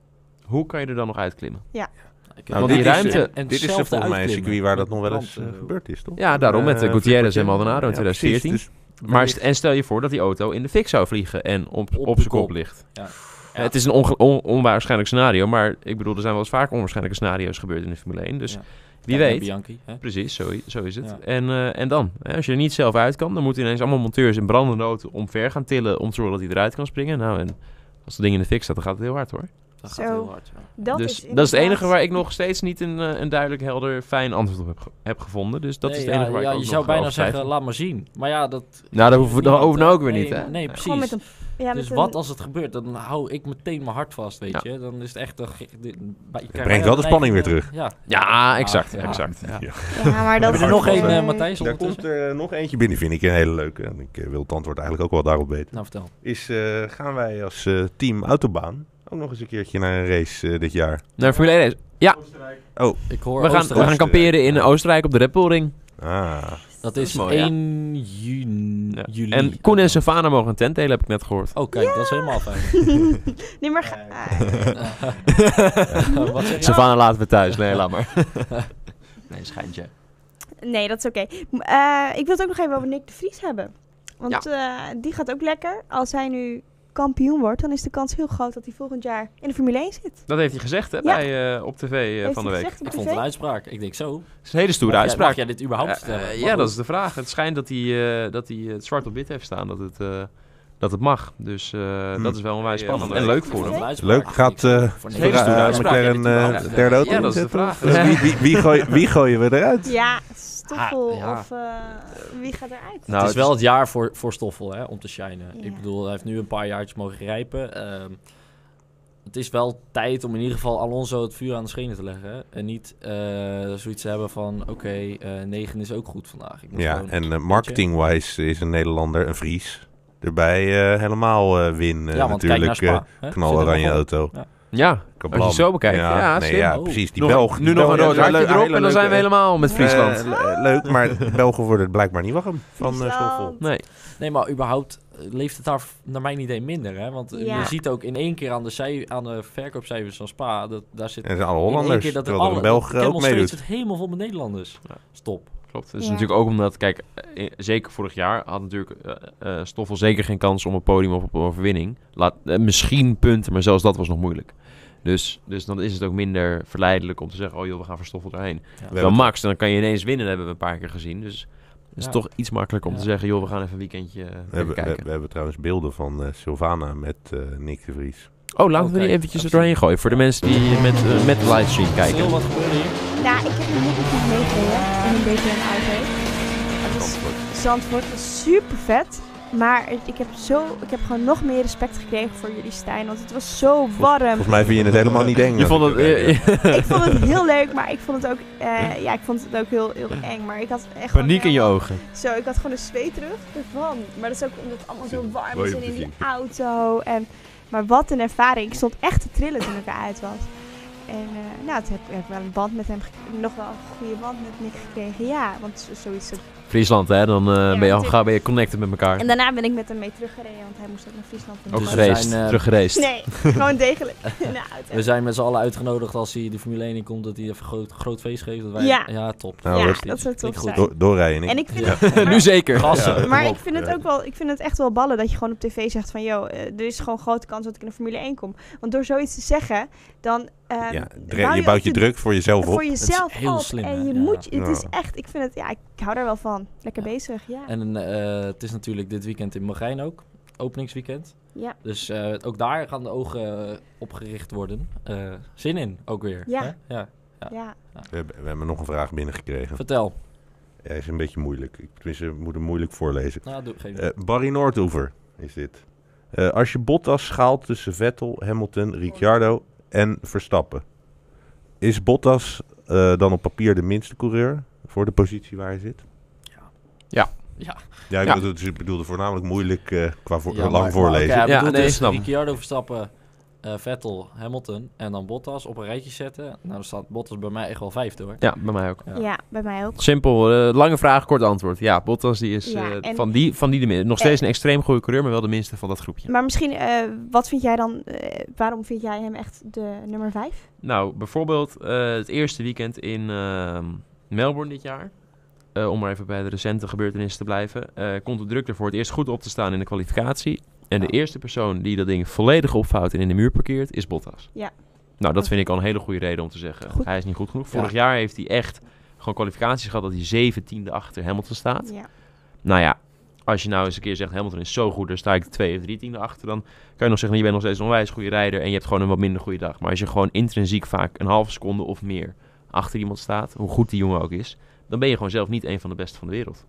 [SPEAKER 1] hoe kan je er dan nog uitklimmen?
[SPEAKER 2] Ik heb
[SPEAKER 4] Nou,
[SPEAKER 2] wel
[SPEAKER 1] dit
[SPEAKER 2] die
[SPEAKER 1] is-
[SPEAKER 2] ruimte
[SPEAKER 1] dit
[SPEAKER 2] en
[SPEAKER 4] Dit is er
[SPEAKER 2] hetzelfde
[SPEAKER 4] volgens mij een
[SPEAKER 2] uitklimmen.
[SPEAKER 4] circuit waar dat
[SPEAKER 2] Met
[SPEAKER 4] nog wel eens eh,
[SPEAKER 2] brand, eh,
[SPEAKER 4] gebeurd is, toch?
[SPEAKER 1] Ja, daarom met, eh,
[SPEAKER 4] Eh,
[SPEAKER 1] Gutierrez en
[SPEAKER 4] Flippertje.
[SPEAKER 1] Maldonado in
[SPEAKER 4] Ja, precies.
[SPEAKER 1] 2014.
[SPEAKER 4] Dus
[SPEAKER 1] Maar st- en stel je voor dat die auto in de fik zou vliegen en op, op,
[SPEAKER 2] Op de
[SPEAKER 1] zijn kop
[SPEAKER 2] kop.
[SPEAKER 1] ligt.
[SPEAKER 2] Ja.
[SPEAKER 1] Eh, Het is een onge- on- onwaarschijnlijk scenario, maar ik bedoel, er zijn wel eens vaak onwaarschijnlijke scenario's gebeurd in de Formule 1. Dus
[SPEAKER 2] Ja.
[SPEAKER 1] wie
[SPEAKER 2] Kijk naar
[SPEAKER 1] weet.
[SPEAKER 2] Bianchi, hè?
[SPEAKER 1] Precies, zo, i- zo is het.
[SPEAKER 2] Ja.
[SPEAKER 1] En, eh, en dan? Hè, Als je er niet zelf uit kan, dan moeten ineens allemaal monteurs in brandende auto omver gaan tillen om te zorgen dat hij eruit kan springen. Nou, en als dat ding in de fik staat, dan gaat het heel hard hoor.
[SPEAKER 2] Dat
[SPEAKER 3] Zo.
[SPEAKER 2] gaat heel hard. ja.
[SPEAKER 3] Dat
[SPEAKER 1] dus
[SPEAKER 3] is
[SPEAKER 1] dat is het
[SPEAKER 3] inderdaad-
[SPEAKER 1] enige waar ik nog steeds niet een, eh, een duidelijk, helder, fijn antwoord op heb, ge- heb gevonden. Dus dat
[SPEAKER 2] Nee,
[SPEAKER 1] is het enige
[SPEAKER 2] ja,
[SPEAKER 1] waar
[SPEAKER 2] ja,
[SPEAKER 1] ik ook
[SPEAKER 2] je
[SPEAKER 1] nog
[SPEAKER 2] zou bijna
[SPEAKER 1] over
[SPEAKER 2] zeggen,
[SPEAKER 1] twijfel.
[SPEAKER 2] laat maar zien. Maar ja, dat...
[SPEAKER 1] Nou, daar hoeven we dan
[SPEAKER 2] niemand,
[SPEAKER 1] over nou ook weer
[SPEAKER 2] nee,
[SPEAKER 1] niet, hè?
[SPEAKER 2] Nee,
[SPEAKER 3] Gewoon
[SPEAKER 2] precies.
[SPEAKER 3] met een, ja,
[SPEAKER 2] dus
[SPEAKER 3] met
[SPEAKER 2] wat
[SPEAKER 3] een-
[SPEAKER 2] als het gebeurt, dan hou ik meteen mijn hart vast, weet je. Dan is het echt... Dan,
[SPEAKER 4] brengt wel de spanning weer terug.
[SPEAKER 2] Ja,
[SPEAKER 1] Ja, exact,
[SPEAKER 2] Ja.
[SPEAKER 1] exact. Ja.
[SPEAKER 3] Ja, maar dat
[SPEAKER 4] We
[SPEAKER 2] Hebben we
[SPEAKER 3] is
[SPEAKER 2] er nog
[SPEAKER 3] gewoon-
[SPEAKER 2] één, eh,
[SPEAKER 3] Nee.
[SPEAKER 2] Matthijs,
[SPEAKER 4] Daar
[SPEAKER 2] ondertussen?
[SPEAKER 4] komt er nog eentje binnen, vind ik een hele leuke. En ik eh, wil het antwoord eigenlijk ook wel daarop weten.
[SPEAKER 2] Nou, vertel.
[SPEAKER 4] Is, eh, gaan wij als eh, team Autobaan ook nog eens een keertje naar een race eh, dit jaar?
[SPEAKER 1] Nou, Formule 1 race.
[SPEAKER 2] Ik hoor
[SPEAKER 1] We gaan, we gaan
[SPEAKER 4] Oostenrijk.
[SPEAKER 1] kamperen in Oostenrijk op de Red Bull Ring.
[SPEAKER 4] Ah,
[SPEAKER 2] Dat is
[SPEAKER 1] Mooi, ja.
[SPEAKER 2] 1 juni.
[SPEAKER 1] Ja.
[SPEAKER 2] juli.
[SPEAKER 1] En Koen en Savana mogen een tent delen, heb ik net gehoord.
[SPEAKER 2] Oh, kijk, dat is helemaal fijn.
[SPEAKER 3] Nee, maar ga-
[SPEAKER 2] Wat zeg je?
[SPEAKER 1] Savannah laten we thuis. Nee, laat maar. nee, schijntje.
[SPEAKER 3] Nee, dat is oké. M- eh, ik wil het ook nog even over Nick de Vries hebben. Want eh, die gaat ook lekker. Als hij nu kampioen wordt, dan is de kans heel groot dat hij volgend jaar in de Formule 1 zit.
[SPEAKER 1] Dat heeft hij gezegd, hè,
[SPEAKER 3] Ja.
[SPEAKER 1] bij, eh, op tv eh,
[SPEAKER 3] Heeft
[SPEAKER 1] van de
[SPEAKER 3] hij
[SPEAKER 1] week.
[SPEAKER 3] gezegd op
[SPEAKER 2] Ik
[SPEAKER 3] tv?
[SPEAKER 2] vond het een uitspraak. Ik denk zo.
[SPEAKER 1] Het is een hele stoere
[SPEAKER 2] Mag jij-
[SPEAKER 1] uitspraak.
[SPEAKER 2] Mag jij dit überhaupt vertellen?
[SPEAKER 1] Eh, eh,
[SPEAKER 2] Maar
[SPEAKER 1] ja,
[SPEAKER 2] goed.
[SPEAKER 1] dat is de vraag. Het schijnt dat hij, eh, dat hij het zwart op wit heeft staan, dat het, eh, dat het mag. Dus eh,
[SPEAKER 4] Hmm.
[SPEAKER 1] dat is wel onwijs
[SPEAKER 4] Ja,
[SPEAKER 1] spannend.
[SPEAKER 4] ja.
[SPEAKER 1] en leuk
[SPEAKER 2] Ik vond
[SPEAKER 1] voor
[SPEAKER 2] het
[SPEAKER 1] hem.
[SPEAKER 2] een uitspraak.
[SPEAKER 4] leuk. Gaat eh
[SPEAKER 2] Voor
[SPEAKER 1] Hele stoere
[SPEAKER 4] Ferra-
[SPEAKER 1] uitspraak.
[SPEAKER 4] McLaren eh, derde auto
[SPEAKER 1] Ja, dat is de
[SPEAKER 4] inzetten?
[SPEAKER 1] vraag.
[SPEAKER 4] Of, eh, wie, wie, wie, gooi- wie gooien we eruit?
[SPEAKER 3] Ja, Stoffel
[SPEAKER 1] Ah, ja.
[SPEAKER 3] of eh, wie gaat eruit?
[SPEAKER 1] Nou,
[SPEAKER 2] het is wel het jaar voor, voor Stoffel hè, om te shinen.
[SPEAKER 3] Ja.
[SPEAKER 2] Ik bedoel, hij heeft nu een paar jaartjes mogen grijpen. Ehm, het is wel tijd om in ieder geval Alonso het vuur aan de schenen te leggen. hè. En niet eh, zoiets te hebben van, oké, eh, negen is ook goed vandaag. Ik moet
[SPEAKER 4] Ja,
[SPEAKER 2] gewoon-
[SPEAKER 4] en eh, marketing-wise is een Nederlander, een Fries, erbij eh, helemaal eh, win eh,
[SPEAKER 2] ja, want kijk naar
[SPEAKER 4] natuurlijk.
[SPEAKER 2] Spa. hè.
[SPEAKER 4] eh,
[SPEAKER 2] Zit er
[SPEAKER 4] knaloranje
[SPEAKER 2] nog op.
[SPEAKER 4] auto.
[SPEAKER 1] Ja,
[SPEAKER 4] Kablam.
[SPEAKER 1] Als je het zo bekijkt, ja,
[SPEAKER 4] nee,
[SPEAKER 1] slim.
[SPEAKER 4] ja
[SPEAKER 2] Oh.
[SPEAKER 4] precies. Die
[SPEAKER 1] nog,
[SPEAKER 4] Belg.
[SPEAKER 1] nu
[SPEAKER 4] die
[SPEAKER 1] nog
[SPEAKER 4] Belg-
[SPEAKER 1] een rood
[SPEAKER 4] ja,
[SPEAKER 1] hartje
[SPEAKER 4] leuk-
[SPEAKER 1] erop
[SPEAKER 4] hele
[SPEAKER 1] en dan
[SPEAKER 4] leuke-
[SPEAKER 1] zijn we helemaal met Friesland.
[SPEAKER 4] Eh, le- leuk, maar Belgen worden het blijkbaar niet wakker van eh, Stoffel.
[SPEAKER 3] Friesland.
[SPEAKER 1] nee.
[SPEAKER 2] Nee, maar überhaupt eh, leeft het daar v- naar mijn idee minder. Hè? Want eh,
[SPEAKER 3] Ja.
[SPEAKER 2] je ziet ook in één keer aan de, cij- aan de verkoopcijfers van Spa, dat, daar zit
[SPEAKER 4] En zijn alle
[SPEAKER 2] in één
[SPEAKER 4] Hollanders,
[SPEAKER 2] keer dat er
[SPEAKER 4] terwijl er
[SPEAKER 2] alle,
[SPEAKER 4] een Belg
[SPEAKER 2] dat
[SPEAKER 4] ook
[SPEAKER 2] Camel Street
[SPEAKER 4] meedoet.
[SPEAKER 2] zit helemaal vol met Nederlanders.
[SPEAKER 1] Ja.
[SPEAKER 2] Stop.
[SPEAKER 1] Klopt. Dat is
[SPEAKER 3] Ja.
[SPEAKER 1] natuurlijk ook omdat, kijk, eh, eh, zeker vorig jaar had natuurlijk eh, eh, Stoffel zeker geen kans om een podium of op een overwinning. Laat, eh, misschien punten, maar zelfs dat was nog moeilijk. Dus, dus dan is het ook minder verleidelijk om te zeggen, oh joh, we gaan voor Stoffel erheen.
[SPEAKER 4] We
[SPEAKER 1] Dan
[SPEAKER 4] hebben
[SPEAKER 1] Max, dan kan je ineens winnen, dat hebben we een paar keer gezien. Dus het is
[SPEAKER 2] Ja.
[SPEAKER 1] toch iets makkelijker om te
[SPEAKER 2] Ja.
[SPEAKER 1] zeggen, joh, we gaan even een weekendje eh,
[SPEAKER 4] We hebben, we,
[SPEAKER 1] kijken.
[SPEAKER 4] we hebben trouwens beelden van eh, Sylvana met eh, Nick de Vries.
[SPEAKER 1] Oh, laten we die
[SPEAKER 2] Oké,
[SPEAKER 1] eventjes er
[SPEAKER 2] absoluut.
[SPEAKER 1] doorheen gooien. Voor de mensen die met, eh, met de livestream kijken.
[SPEAKER 2] Stil, wat gebeurde hier?
[SPEAKER 3] Nou, ik heb nog niet goed meegekregen en een beetje een auto. Het is- Zandvoort was super vet. Maar het- ik heb, zo, ik heb gewoon nog meer respect gekregen voor jullie, Stijn. Want het was zo warm.
[SPEAKER 4] Volgens mij vind je het helemaal niet eng.
[SPEAKER 1] Je vond het... eh,
[SPEAKER 3] ik vond het heel leuk, maar ik vond het ook, eh, ja, ik vond het ook heel, heel eng. Maar ik had echt
[SPEAKER 1] paniek in
[SPEAKER 3] gewoon,
[SPEAKER 1] je ogen.
[SPEAKER 3] Zo, ik had gewoon een zweet terug ervan. Maar dat is ook omdat het allemaal zo warm
[SPEAKER 4] Mooi
[SPEAKER 3] is
[SPEAKER 4] om
[SPEAKER 3] en
[SPEAKER 4] te
[SPEAKER 3] in die
[SPEAKER 4] zien.
[SPEAKER 3] auto. En, maar wat een ervaring. Ik stond echt te trillen toen ik eruit was. En eh, nou, toen heb ik- heb ik wel een band met hem, gek- nog wel een goede band met Nick gekregen. Ja, want zo- zoiets. zo-
[SPEAKER 1] Friesland, hè? Dan eh, ben, je al,
[SPEAKER 3] natuurlijk.
[SPEAKER 1] ga, ben je connected met elkaar.
[SPEAKER 3] En daarna ben ik met hem mee teruggereden, want hij moest ook naar Friesland. en
[SPEAKER 1] Ook
[SPEAKER 2] Dus
[SPEAKER 3] zo.
[SPEAKER 2] we
[SPEAKER 1] gereisd.
[SPEAKER 2] zijn, eh,
[SPEAKER 1] Teruggereisd.
[SPEAKER 3] Nee, gewoon degelijk in de auto.
[SPEAKER 2] We zijn met z'n allen uitgenodigd als hij de Formule 1 in komt, dat hij even groot, groot feest geeft. Dat wij,
[SPEAKER 3] Ja.
[SPEAKER 2] top.
[SPEAKER 4] Nou,
[SPEAKER 3] ja,
[SPEAKER 4] dat-
[SPEAKER 3] dat zou tof
[SPEAKER 2] Klinkt
[SPEAKER 1] eh,
[SPEAKER 2] goed.
[SPEAKER 3] zijn.
[SPEAKER 4] Do- doorrijden.
[SPEAKER 3] En ik vind
[SPEAKER 2] Ja.
[SPEAKER 3] het...
[SPEAKER 1] nu zeker.
[SPEAKER 2] Gassen.
[SPEAKER 4] Ja.
[SPEAKER 3] Maar
[SPEAKER 4] Kom
[SPEAKER 3] ik
[SPEAKER 4] Eh, op,
[SPEAKER 3] vind het
[SPEAKER 4] ja.
[SPEAKER 3] ook wel, ik vind het echt wel ballen dat je gewoon op tv zegt van, joh, eh, er is gewoon grote kans dat ik in de Formule 1 kom. Want door zoiets te zeggen, dan ehm,
[SPEAKER 4] ja, dre-
[SPEAKER 3] bouw
[SPEAKER 4] je bouwt je
[SPEAKER 3] ook de-
[SPEAKER 4] druk voor jezelf op.
[SPEAKER 3] voor jezelf
[SPEAKER 2] heel
[SPEAKER 3] op.
[SPEAKER 2] slim,
[SPEAKER 3] en
[SPEAKER 2] hè?
[SPEAKER 3] je
[SPEAKER 2] Ja.
[SPEAKER 3] moet, je- het
[SPEAKER 4] Ja.
[SPEAKER 3] is echt, ik vind het, ja, ik hou daar wel van. Lekker
[SPEAKER 2] Ja.
[SPEAKER 3] bezig, ja.
[SPEAKER 2] En eh, het is natuurlijk dit weekend in Magijn ook, openingsweekend.
[SPEAKER 3] Ja.
[SPEAKER 2] Dus eh, ook daar gaan de ogen eh, op gericht worden. Eh, zin in, ook weer.
[SPEAKER 3] Ja.
[SPEAKER 2] Hè? ja. Ja.
[SPEAKER 3] ja.
[SPEAKER 4] We hebben, we hebben nog een vraag binnengekregen.
[SPEAKER 2] Vertel.
[SPEAKER 4] Hij is een beetje moeilijk. Ik, tenminste, ik moet hem moeilijk voorlezen.
[SPEAKER 2] Nou, doe, geen...
[SPEAKER 4] Eh, Barry Noordoever is dit. Eh, als je Bottas schaalt tussen Vettel, Hamilton, Ricciardo en Verstappen. Is Bottas eh, dan op papier de minste coureur voor de positie waar hij zit?
[SPEAKER 1] Ja.
[SPEAKER 2] Ja.
[SPEAKER 4] Ja, ik,
[SPEAKER 1] Ja.
[SPEAKER 4] Bedoelde, dus ik bedoelde voornamelijk moeilijk eh, qua voor,
[SPEAKER 2] Ja,
[SPEAKER 4] lang
[SPEAKER 2] maar- maar
[SPEAKER 4] voorlezen.
[SPEAKER 2] oké, hij
[SPEAKER 1] Ja,
[SPEAKER 2] bedoelt
[SPEAKER 1] nee,
[SPEAKER 2] dus
[SPEAKER 1] snap.
[SPEAKER 2] Ricciardo Verstappen, eh, Vettel, Hamilton en dan Bottas op een rijtje zetten. Nou, dan staat Bottas bij mij echt wel vijfde hoor.
[SPEAKER 1] Ja, bij mij ook.
[SPEAKER 2] Ja.
[SPEAKER 3] bij mij ook.
[SPEAKER 1] Simpel, eh, lange vraag, kort antwoord. Ja, Bottas die is
[SPEAKER 3] Ja,
[SPEAKER 1] eh,
[SPEAKER 3] en- Eh.
[SPEAKER 1] van, die, van die de min- Nog
[SPEAKER 3] en-
[SPEAKER 1] steeds een extreem goede coureur, maar wel de minste van dat groepje.
[SPEAKER 3] Maar misschien, eh, wat vind jij dan, eh, waarom vind jij hem echt de nummer vijf?
[SPEAKER 1] Nou, bijvoorbeeld eh, het eerste weekend in ehm, Melbourne dit jaar. Eh, om maar even bij de recente gebeurtenissen te blijven. eh, komt de druk er voor het eerst goed op te staan in de kwalificatie. En de
[SPEAKER 2] Ja.
[SPEAKER 1] eerste persoon die dat ding volledig opvouwt en in de muur parkeert, is Bottas.
[SPEAKER 3] Ja.
[SPEAKER 1] Nou, dat vind ik al een hele goede reden om te zeggen.
[SPEAKER 3] Goed.
[SPEAKER 1] Hij is niet goed genoeg. Vorig jaar heeft hij echt gewoon kwalificaties gehad dat hij zeventiende achter Hamilton staat.
[SPEAKER 3] Ja.
[SPEAKER 1] Nou ja, als je nou eens een keer zegt Hamilton is zo goed, daar sta ik twee of drie tiende achter, dan kan je nog zeggen je bent nog steeds een onwijs goede rijder en je hebt gewoon een wat minder goede dag. Maar als je gewoon intrinsiek vaak een halve seconde of meer achter iemand staat, hoe goed die jongen ook is, dan ben je gewoon zelf niet een van de beste van de wereld.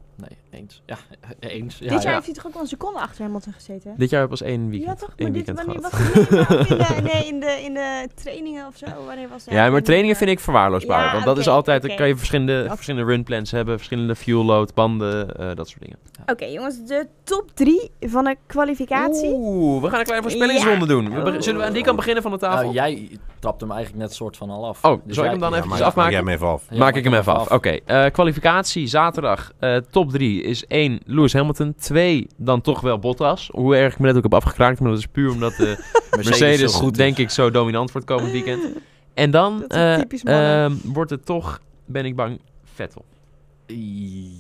[SPEAKER 2] Nee, eens. Ja, eens. Ja,
[SPEAKER 3] dit jaar
[SPEAKER 2] ja.
[SPEAKER 3] heeft hij toch ook wel een seconde achter Hamilton gezeten? hè?
[SPEAKER 1] Dit jaar was één weekend,
[SPEAKER 3] Ja, toch?
[SPEAKER 1] één
[SPEAKER 3] Maar dit,
[SPEAKER 1] weekend
[SPEAKER 3] wanneer
[SPEAKER 1] gehad.
[SPEAKER 3] was het? Nee, maar ook in de, nee, in de, in de trainingen of zo. Wanneer was het?
[SPEAKER 1] Ja, maar trainingen vind ik verwaarloosbaar.
[SPEAKER 3] Ja,
[SPEAKER 1] want dat is
[SPEAKER 3] oké,
[SPEAKER 1] altijd, dan
[SPEAKER 3] oké.
[SPEAKER 1] kan je verschillende,
[SPEAKER 3] Dat-
[SPEAKER 1] verschillende runplans hebben, verschillende fuel load, banden, eh, dat soort dingen.
[SPEAKER 3] Oké, jongens, de top drie van de kwalificatie.
[SPEAKER 1] Oeh, we gaan een kleine voorspellingsronde doen. We be- Zullen we aan die kant beginnen van de tafel?
[SPEAKER 2] Nou, jij trapt hem eigenlijk net soort van al af. Dus
[SPEAKER 1] Oh, zal ik hem dan
[SPEAKER 4] Ja,
[SPEAKER 1] even
[SPEAKER 4] maar-
[SPEAKER 1] afmaken?
[SPEAKER 4] Jij hem even af.
[SPEAKER 2] Ja,
[SPEAKER 1] maak ik hem even af. Oké, eh, kwalificatie zaterdag. eh, top 3 is 1 Lewis Hamilton. 2 dan toch wel Bottas. Hoe erg ik me net ook heb afgekraakt. Maar dat is puur omdat de Mercedes,
[SPEAKER 2] zo goed dus. is.
[SPEAKER 1] denk ik, zo dominant wordt komend weekend. En dan
[SPEAKER 3] Dat is een
[SPEAKER 1] eh,
[SPEAKER 3] typisch mannen.
[SPEAKER 1] ehm, wordt het toch, ben ik bang, Vettel.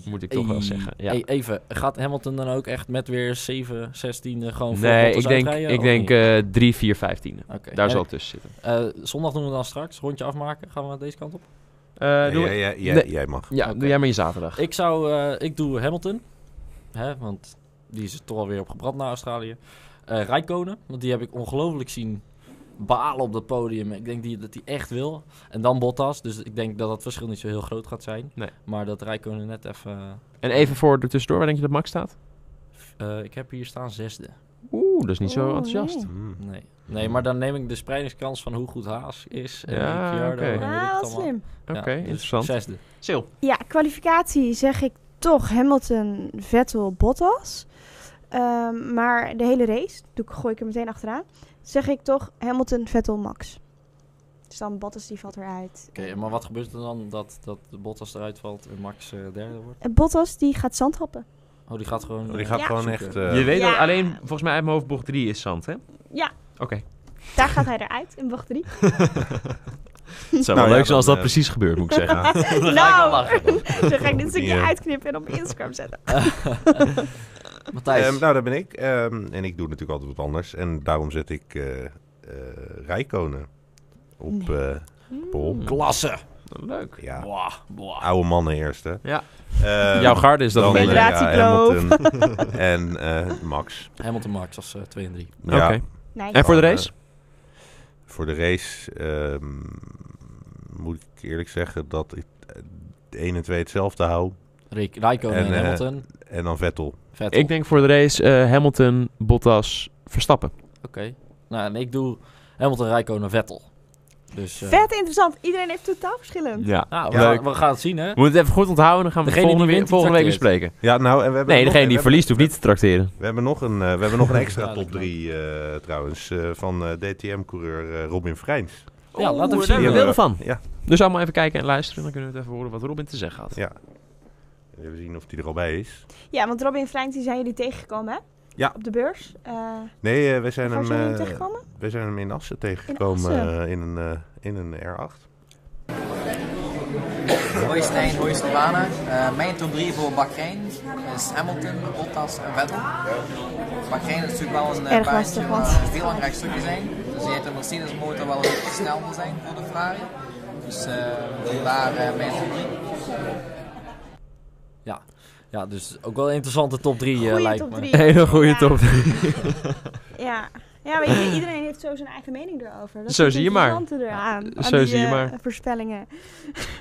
[SPEAKER 1] Moet ik toch wel zeggen, ja.
[SPEAKER 2] Hey, even, gaat Hamilton dan ook echt met weer 7, 16 gewoon voor
[SPEAKER 1] Nee,
[SPEAKER 2] Bottas
[SPEAKER 1] ik denk,
[SPEAKER 2] uitrijden,
[SPEAKER 1] ik
[SPEAKER 2] of
[SPEAKER 1] denk eh,
[SPEAKER 2] niet?
[SPEAKER 1] 3, 4, 15.
[SPEAKER 2] Oké.
[SPEAKER 1] Daar
[SPEAKER 2] En,
[SPEAKER 1] zal het tussen zitten.
[SPEAKER 2] eh, zondag doen we dan straks, rondje afmaken. Gaan we deze kant op?
[SPEAKER 1] Eh,
[SPEAKER 4] Ja,
[SPEAKER 1] doen we-
[SPEAKER 4] jij- jij- jij-
[SPEAKER 1] Nee.
[SPEAKER 4] Jij mag.
[SPEAKER 1] ja,
[SPEAKER 2] Oké.
[SPEAKER 1] doe jij maar je zaterdag.
[SPEAKER 2] Ik zou, eh, ik doe Hamilton. Hè, want die is er toch alweer op gebrand naar Australië. Eh Rijkonen, want die heb ik ongelooflijk zien balen op dat podium. Ik denk die, dat hij echt wil. En dan Bottas, dus ik denk dat dat verschil niet zo heel groot gaat zijn.
[SPEAKER 1] Nee.
[SPEAKER 2] Maar dat Rijkonen net even...
[SPEAKER 1] En even voor er tussendoor, waar denk je dat Max staat?
[SPEAKER 2] eh, ik heb hier staan zesde.
[SPEAKER 1] Oeh, dat is niet zo
[SPEAKER 3] Oeh,
[SPEAKER 1] enthousiast.
[SPEAKER 3] Oh, nee.
[SPEAKER 4] Hmm.
[SPEAKER 2] Nee. nee, maar dan neem ik de spreidingskans van hoe goed Haas is. En
[SPEAKER 1] Ja,
[SPEAKER 2] Ricciardo
[SPEAKER 1] oké.
[SPEAKER 2] en weet ik het
[SPEAKER 3] Ah, wat
[SPEAKER 2] allemaal.
[SPEAKER 3] slim.
[SPEAKER 1] Oké,
[SPEAKER 2] Ja, dus
[SPEAKER 1] interessant.
[SPEAKER 2] Zesde.
[SPEAKER 1] Sil.
[SPEAKER 3] Ja, kwalificatie zeg ik toch Hamilton, Vettel, Bottas. Ehm, maar de hele race, doe ik, gooi ik er meteen achteraan, zeg ik toch Hamilton, Vettel, Max. Dus dan Bottas die valt eruit.
[SPEAKER 2] Oké, maar wat gebeurt er dan dat, dat Bottas eruit valt en Max eh, derde wordt?
[SPEAKER 3] En Bottas die gaat zandhappen.
[SPEAKER 2] Oh, die gaat gewoon...
[SPEAKER 4] Oh, die
[SPEAKER 2] eh,
[SPEAKER 4] gaat
[SPEAKER 3] Ja.
[SPEAKER 4] gewoon
[SPEAKER 2] zoeken.
[SPEAKER 4] echt... eh,
[SPEAKER 1] Je weet
[SPEAKER 3] Ja.
[SPEAKER 1] dat alleen, volgens mij uit mijn hoofd, bocht 3 is zand, hè?
[SPEAKER 3] Ja.
[SPEAKER 1] Oké.
[SPEAKER 3] Daar gaat hij eruit in bocht drie.
[SPEAKER 1] Het zou
[SPEAKER 4] Nou ja,
[SPEAKER 1] wel leuk zijn als dat
[SPEAKER 4] dan, eh,
[SPEAKER 1] precies gebeurt, moet ik zeggen.
[SPEAKER 4] ja.
[SPEAKER 3] nou, dan ga ik dit
[SPEAKER 4] Die,
[SPEAKER 3] stukje
[SPEAKER 4] eh,
[SPEAKER 3] uitknippen en op Instagram zetten.
[SPEAKER 2] Matthijs.
[SPEAKER 4] Ehm, nou, daar ben ik. Ehm, en ik doe natuurlijk altijd wat anders. En daarom zet ik eh eh, Rijkonen op eh, Pol.
[SPEAKER 1] Mm.
[SPEAKER 2] Klasse.
[SPEAKER 1] Leuk.
[SPEAKER 4] Ja,
[SPEAKER 2] Boah, boah.
[SPEAKER 4] oude mannen eerst, hè?
[SPEAKER 1] Ja.
[SPEAKER 4] Ehm,
[SPEAKER 1] Jouw garde is dat
[SPEAKER 4] dan,
[SPEAKER 1] een beetje.
[SPEAKER 4] eh,
[SPEAKER 3] Federatiekloof.
[SPEAKER 4] Hamilton en eh, Max.
[SPEAKER 2] Hamilton Max als 2 en 3.
[SPEAKER 4] Ja,
[SPEAKER 1] Oké.
[SPEAKER 3] Nee.
[SPEAKER 1] En voor de
[SPEAKER 4] dan,
[SPEAKER 1] race?
[SPEAKER 4] eh, voor de race ehm, moet ik eerlijk zeggen dat ik eh, de 1 en 2 hetzelfde hou.
[SPEAKER 2] Rick, Rijkonen
[SPEAKER 4] En,
[SPEAKER 2] en,
[SPEAKER 4] eh,
[SPEAKER 2] Hamilton.
[SPEAKER 4] En dan Vettel.
[SPEAKER 2] Vettel.
[SPEAKER 1] Ik denk voor de race eh, Hamilton, Bottas, Verstappen.
[SPEAKER 2] Oké. Nou, en ik doe Hamilton, Rijkonen, Vettel. Dus, eh,
[SPEAKER 3] Vet interessant. Iedereen heeft totaal verschillend.
[SPEAKER 1] Ja.
[SPEAKER 2] Nou, we,
[SPEAKER 1] Ja.
[SPEAKER 2] gaan-
[SPEAKER 1] Leuk.
[SPEAKER 2] we gaan het zien, hè.
[SPEAKER 1] We moeten het even goed onthouden en dan gaan we het
[SPEAKER 2] Degene
[SPEAKER 1] volgende,
[SPEAKER 2] die
[SPEAKER 1] weer-
[SPEAKER 2] wint, die
[SPEAKER 1] volgende week
[SPEAKER 2] trakteert.
[SPEAKER 1] bespreken.
[SPEAKER 4] Ja, nou, en we hebben
[SPEAKER 1] Nee,
[SPEAKER 4] nog-
[SPEAKER 1] degene die
[SPEAKER 4] we hebben-
[SPEAKER 1] verliest hoeft niet te trakteren.
[SPEAKER 4] We hebben nog een, eh, we hebben nog een extra
[SPEAKER 2] Ja, dat
[SPEAKER 4] top 3 trouwens eh, van eh, DTM-coureur eh, Robin Vrijns.
[SPEAKER 2] Ja, laten we
[SPEAKER 1] Oeh, daar
[SPEAKER 2] zien.
[SPEAKER 1] hebben we
[SPEAKER 4] Ja.
[SPEAKER 1] veel van.
[SPEAKER 4] Ja.
[SPEAKER 1] Dus allemaal even kijken en luisteren. Dan kunnen we het even horen wat Robin te zeggen had.
[SPEAKER 4] Ja. Even zien of die er al bij is.
[SPEAKER 3] Ja, want Robin en Frank die zijn jullie tegengekomen, hè?
[SPEAKER 4] Ja.
[SPEAKER 3] Op de beurs. Eh
[SPEAKER 4] Nee, eh, wij zijn
[SPEAKER 3] waar
[SPEAKER 4] hem,
[SPEAKER 3] zijn jullie
[SPEAKER 4] eh,
[SPEAKER 3] tegengekomen?
[SPEAKER 4] wij zijn hem in Assen tegengekomen
[SPEAKER 3] In
[SPEAKER 4] eh, in,
[SPEAKER 3] Assen?
[SPEAKER 4] een, eh, in een R8.
[SPEAKER 5] Hoi Stijn, hoi Sylvana. Eh, mijn top 3 voor Bahrein is Hamilton, Bottas en Vettel. Bahrein is natuurlijk wel een eh,
[SPEAKER 3] Erg
[SPEAKER 5] baantje
[SPEAKER 3] lastig,
[SPEAKER 5] waar
[SPEAKER 3] want-
[SPEAKER 5] veel aan rechtsstukken zijn. Dus je hebt een Mercedes motor wel heel snel wil zijn voor de Ferrari. Dus eh vandaar eh, mijn top 3.
[SPEAKER 2] Ja, dus ook wel een interessante top 3
[SPEAKER 3] Goeie
[SPEAKER 2] lijkt
[SPEAKER 3] top
[SPEAKER 2] me.
[SPEAKER 3] drie.
[SPEAKER 1] Hele goede
[SPEAKER 3] Ja.
[SPEAKER 1] top.
[SPEAKER 3] Ja. Ja, weet je, iedereen heeft zo zijn eigen mening erover. Dat
[SPEAKER 1] Zo
[SPEAKER 3] is het
[SPEAKER 1] zie je maar.
[SPEAKER 3] interessante eraan, aan
[SPEAKER 1] Zo
[SPEAKER 3] die,
[SPEAKER 1] zie je
[SPEAKER 3] eh,
[SPEAKER 1] maar.
[SPEAKER 3] voorspellingen.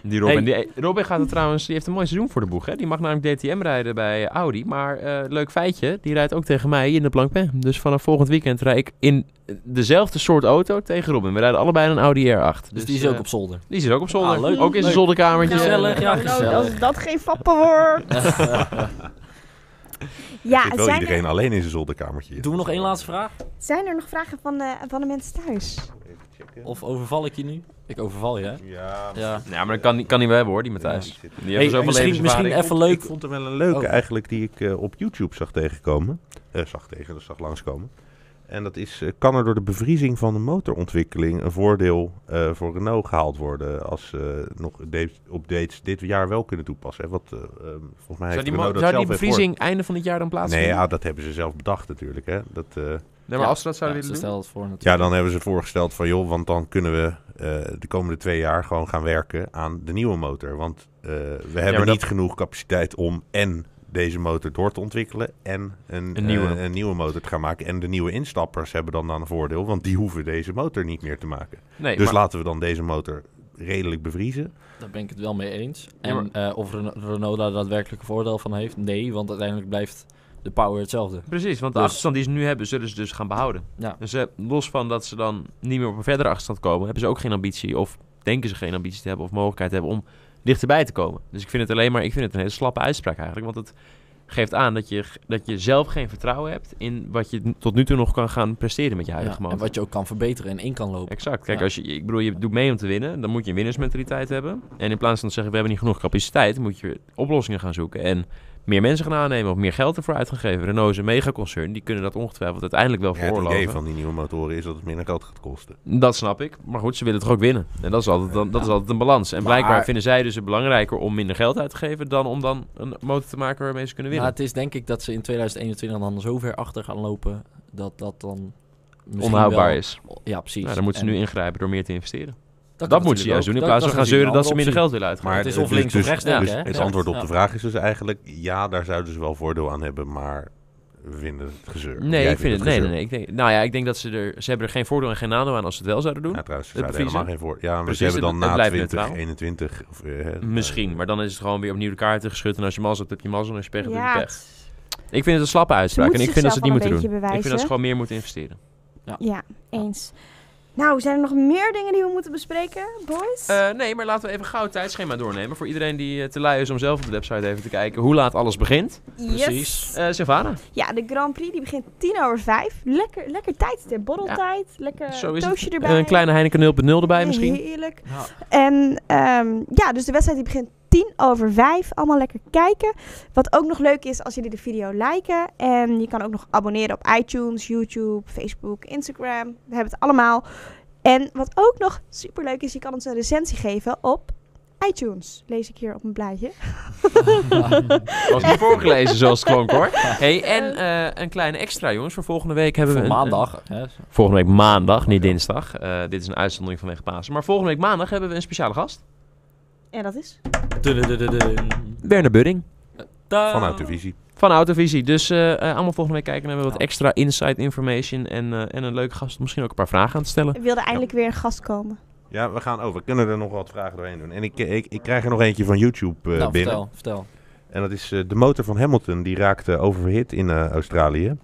[SPEAKER 1] Die Robin, die, Robin gaat het trouwens, die heeft een mooi seizoen voor de boeg. Hè? Die mag namelijk DTM rijden bij Audi. Maar eh, leuk feitje, die rijdt ook tegen mij in de Blancpain. Dus vanaf volgend weekend rijd ik in dezelfde soort auto tegen Robin. We rijden allebei in een Audi R8.
[SPEAKER 2] Dus die is
[SPEAKER 1] eh,
[SPEAKER 2] ook op zolder.
[SPEAKER 1] die zit ook op zolder.
[SPEAKER 2] Ah, leuk.
[SPEAKER 1] Ook in zijn
[SPEAKER 2] Leuk.
[SPEAKER 1] zolderkamertje.
[SPEAKER 2] Gezellig, ja,
[SPEAKER 3] Nou,
[SPEAKER 2] gezellig.
[SPEAKER 3] Als dat geen fappen wordt. ja,
[SPEAKER 4] Zit wel
[SPEAKER 3] zijn
[SPEAKER 4] iedereen
[SPEAKER 3] er,
[SPEAKER 4] alleen in zijn zolderkamertje.
[SPEAKER 2] Doen we nog één laatste vraag?
[SPEAKER 3] zijn er nog vragen van de, van de mensen thuis?
[SPEAKER 4] Even checken.
[SPEAKER 2] Of overval ik je nu? Ik overval je, hè?
[SPEAKER 4] Ja,
[SPEAKER 2] Ja.
[SPEAKER 1] Ja, maar dat kan, kan hij wel hebben hoor, die
[SPEAKER 4] Ja,
[SPEAKER 1] Matthijs.
[SPEAKER 4] die zit-
[SPEAKER 1] Die
[SPEAKER 2] Hey,
[SPEAKER 1] heeft zoveel
[SPEAKER 2] misschien-
[SPEAKER 1] levenservaring.
[SPEAKER 2] misschien-
[SPEAKER 4] Ik vond-
[SPEAKER 2] even leuk-
[SPEAKER 4] Ik vond hem wel een leuke
[SPEAKER 2] Oh.
[SPEAKER 4] eigenlijk die ik eh, op YouTube zag tegenkomen. Eh, zag tegen, dat zag langskomen. En dat is, eh, kan er door de bevriezing van de motorontwikkeling een voordeel eh, voor Renault gehaald worden als ze nog de- updates dit jaar wel kunnen toepassen? Hè? Wat, eh, eh, volgens mij
[SPEAKER 1] Zou
[SPEAKER 4] heeft
[SPEAKER 1] die,
[SPEAKER 4] Renault
[SPEAKER 1] mo-
[SPEAKER 4] dat
[SPEAKER 1] zou die
[SPEAKER 4] zelf weer
[SPEAKER 1] bevriezing einde van dit jaar dan
[SPEAKER 4] voor- Nee,
[SPEAKER 1] plaatsvinden?
[SPEAKER 4] ja, dat hebben ze zelf bedacht natuurlijk. Hè? Dat, eh,
[SPEAKER 1] Nee, maar als ze dat zouden
[SPEAKER 2] ja, ze
[SPEAKER 1] willen doen.
[SPEAKER 2] stellen het voor natuurlijk.
[SPEAKER 4] ja, dan hebben ze voorgesteld van joh, want dan kunnen we eh, de komende twee jaar gewoon gaan werken aan de nieuwe motor. Want eh, we hebben
[SPEAKER 1] maar dat-
[SPEAKER 4] niet genoeg capaciteit om en deze motor door te ontwikkelen en een,
[SPEAKER 1] Een nieuwe.
[SPEAKER 4] eh, een nieuwe motor te gaan maken. En de nieuwe instappers hebben dan dan een voordeel, want die hoeven deze motor niet meer te maken.
[SPEAKER 1] Nee,
[SPEAKER 4] dus
[SPEAKER 1] maar-
[SPEAKER 4] laten we dan deze motor redelijk bevriezen.
[SPEAKER 2] Daar ben ik het wel mee eens.
[SPEAKER 1] Ja,
[SPEAKER 2] En eh, of Ren- Renault daar daadwerkelijk een voordeel van heeft? Nee, want uiteindelijk blijft de power hetzelfde.
[SPEAKER 1] Precies, want de
[SPEAKER 2] Dus-
[SPEAKER 1] achterstand die ze nu hebben, zullen ze dus gaan behouden.
[SPEAKER 2] Ja.
[SPEAKER 1] Dus eh, los van dat ze dan niet meer op een verdere achterstand komen, hebben ze ook geen ambitie. Of denken ze geen ambitie te hebben of mogelijkheid te hebben om dichterbij te komen. Dus ik vind het alleen maar, ik vind het een hele slappe uitspraak eigenlijk. Want het geeft aan dat je, dat je zelf geen vertrouwen hebt in wat je tot nu toe nog kan gaan presteren met je
[SPEAKER 2] Ja,
[SPEAKER 1] huidige
[SPEAKER 2] en
[SPEAKER 1] motor.
[SPEAKER 2] wat je ook kan verbeteren en in kan lopen.
[SPEAKER 1] Exact. Kijk,
[SPEAKER 2] Ja.
[SPEAKER 1] als je, ik bedoel, je doet mee om te winnen, dan moet je een winnersmentaliteit hebben. En in plaats van te zeggen, we hebben niet genoeg capaciteit, moet je oplossingen gaan zoeken. En meer mensen gaan aannemen of meer geld ervoor uit gaan geven. Renault is een megaconcern, die kunnen dat ongetwijfeld uiteindelijk wel
[SPEAKER 4] Ja, het idee
[SPEAKER 1] veroorloven.
[SPEAKER 4] van die nieuwe motoren is dat het minder geld gaat kosten.
[SPEAKER 1] Dat snap ik, maar goed, ze willen toch ook winnen. En dat is altijd, dan, dat is altijd een balans. En
[SPEAKER 2] Maar-
[SPEAKER 1] blijkbaar vinden zij dus het belangrijker om minder geld uit te geven dan om dan een motor te maken waarmee ze kunnen
[SPEAKER 2] Ja,
[SPEAKER 1] winnen.
[SPEAKER 2] het is denk ik dat ze in 2021 dan zo ver achter gaan lopen dat dat dan misschien
[SPEAKER 1] Onhoudbaar
[SPEAKER 2] wel-
[SPEAKER 1] is.
[SPEAKER 2] Ja, precies.
[SPEAKER 1] Nou, dan moeten ze
[SPEAKER 2] En
[SPEAKER 1] nu ingrijpen door meer te investeren.
[SPEAKER 2] kan
[SPEAKER 1] Dat, moeten ze
[SPEAKER 2] natuurlijk
[SPEAKER 1] juist
[SPEAKER 2] ook.
[SPEAKER 1] doen in
[SPEAKER 2] Dat-
[SPEAKER 1] plaats van
[SPEAKER 2] dat
[SPEAKER 1] gaan
[SPEAKER 2] is
[SPEAKER 1] zeuren
[SPEAKER 2] natuurlijk
[SPEAKER 1] dat ze
[SPEAKER 2] een
[SPEAKER 1] minder
[SPEAKER 2] andere
[SPEAKER 1] geld willen uitgeven.
[SPEAKER 2] Maar het is of links of rechts denken,
[SPEAKER 4] dus
[SPEAKER 2] hè?
[SPEAKER 4] Het
[SPEAKER 2] Ja.
[SPEAKER 4] antwoord op
[SPEAKER 2] Ja.
[SPEAKER 4] de vraag is dus eigenlijk... ja, daar zouden ze wel voordeel aan hebben, maar we vinden het gezeur.
[SPEAKER 1] Nee,
[SPEAKER 4] Jij
[SPEAKER 1] ik vind
[SPEAKER 4] vindt
[SPEAKER 1] het. Nee,
[SPEAKER 4] gezeur.
[SPEAKER 1] nee, nee. Ik denk, nou ja, ik denk dat ze er. Ze hebben er geen voordeel en geen nadeel aan als ze het wel zouden doen.
[SPEAKER 4] Ja, trouwens, ze
[SPEAKER 1] Het
[SPEAKER 4] zouden helemaal
[SPEAKER 1] bevriezen.
[SPEAKER 4] geen voor. Ja, maar
[SPEAKER 1] Precies,
[SPEAKER 4] ze hebben dan
[SPEAKER 1] het- het
[SPEAKER 4] na
[SPEAKER 1] blijft
[SPEAKER 4] 2021... Of, eh, hè,
[SPEAKER 1] Misschien, maar dan is het gewoon weer opnieuw de kaarten geschud. En als je mazzel hebt, heb je mazzel. En als je pech hebt, heb
[SPEAKER 3] Ja,
[SPEAKER 1] je pech. Ik vind het een slappe uitspraak. En
[SPEAKER 3] moeten
[SPEAKER 1] ik vind dat ze het niet
[SPEAKER 3] zichzelf
[SPEAKER 1] moeten
[SPEAKER 3] wel
[SPEAKER 1] doen.
[SPEAKER 3] een beetje
[SPEAKER 1] Ik vind dat ze
[SPEAKER 3] bewijzen.
[SPEAKER 1] gewoon meer moeten investeren.
[SPEAKER 3] ja, eens. Nou, zijn er nog meer dingen die we moeten bespreken, boys?
[SPEAKER 1] Eh, nee, maar laten we even gauw het tijdschema doornemen. Voor iedereen die eh, te lui is om zelf op de website even te kijken hoe laat alles begint.
[SPEAKER 3] Yes.
[SPEAKER 2] precies.
[SPEAKER 1] Eh Sylvana,
[SPEAKER 3] Ja, de Grand Prix die begint tien over vijf. Lekker, lekker tijdstip, borreltijd. Lekker
[SPEAKER 1] zo is
[SPEAKER 3] toastje
[SPEAKER 1] het.
[SPEAKER 3] Eh, erbij.
[SPEAKER 1] Een kleine Heineken 0.0 erbij misschien.
[SPEAKER 3] Heerlijk.
[SPEAKER 2] Ja.
[SPEAKER 3] En ehm, ja, dus de wedstrijd die begint 10 over 5. Allemaal lekker kijken. Wat ook nog leuk is als jullie de video liken. En je kan ook nog abonneren op iTunes, YouTube, Facebook, Instagram. We hebben het allemaal. En wat ook nog super leuk is, je kan ons een recensie geven op iTunes. Lees ik hier op mijn blaadje.
[SPEAKER 1] Was niet voorgelezen zoals het klonk hoor. Hey, en eh, een kleine extra jongens. Voor volgende week hebben we
[SPEAKER 2] Voor
[SPEAKER 1] een- een-
[SPEAKER 2] maandag. Hè?
[SPEAKER 1] Volgende week maandag, niet dinsdag. Eh, dit is een uitzondering vanwege Pasen. Maar volgende week maandag hebben we een speciale gast.
[SPEAKER 3] En dat is.
[SPEAKER 2] Dududududun.
[SPEAKER 1] Werner Budding
[SPEAKER 2] Tada.
[SPEAKER 4] Vanuit de visie.
[SPEAKER 1] van Autovisie. Dus eh, eh, allemaal volgende week kijken. Dan hebben we wat extra inside information en, eh, en een leuke gast. Misschien ook een paar vragen aan te stellen.
[SPEAKER 3] Ik wilde eindelijk weer een gast komen.
[SPEAKER 4] Ja, we gaan over. We kunnen er nog wat vragen doorheen doen. En ik, eh, ik, ik krijg er nog eentje van YouTube eh,
[SPEAKER 2] Nou,
[SPEAKER 4] binnen.
[SPEAKER 2] vertel, vertel.
[SPEAKER 4] En dat is eh, de motor van Hamilton. Die raakte overhit in eh, Australië.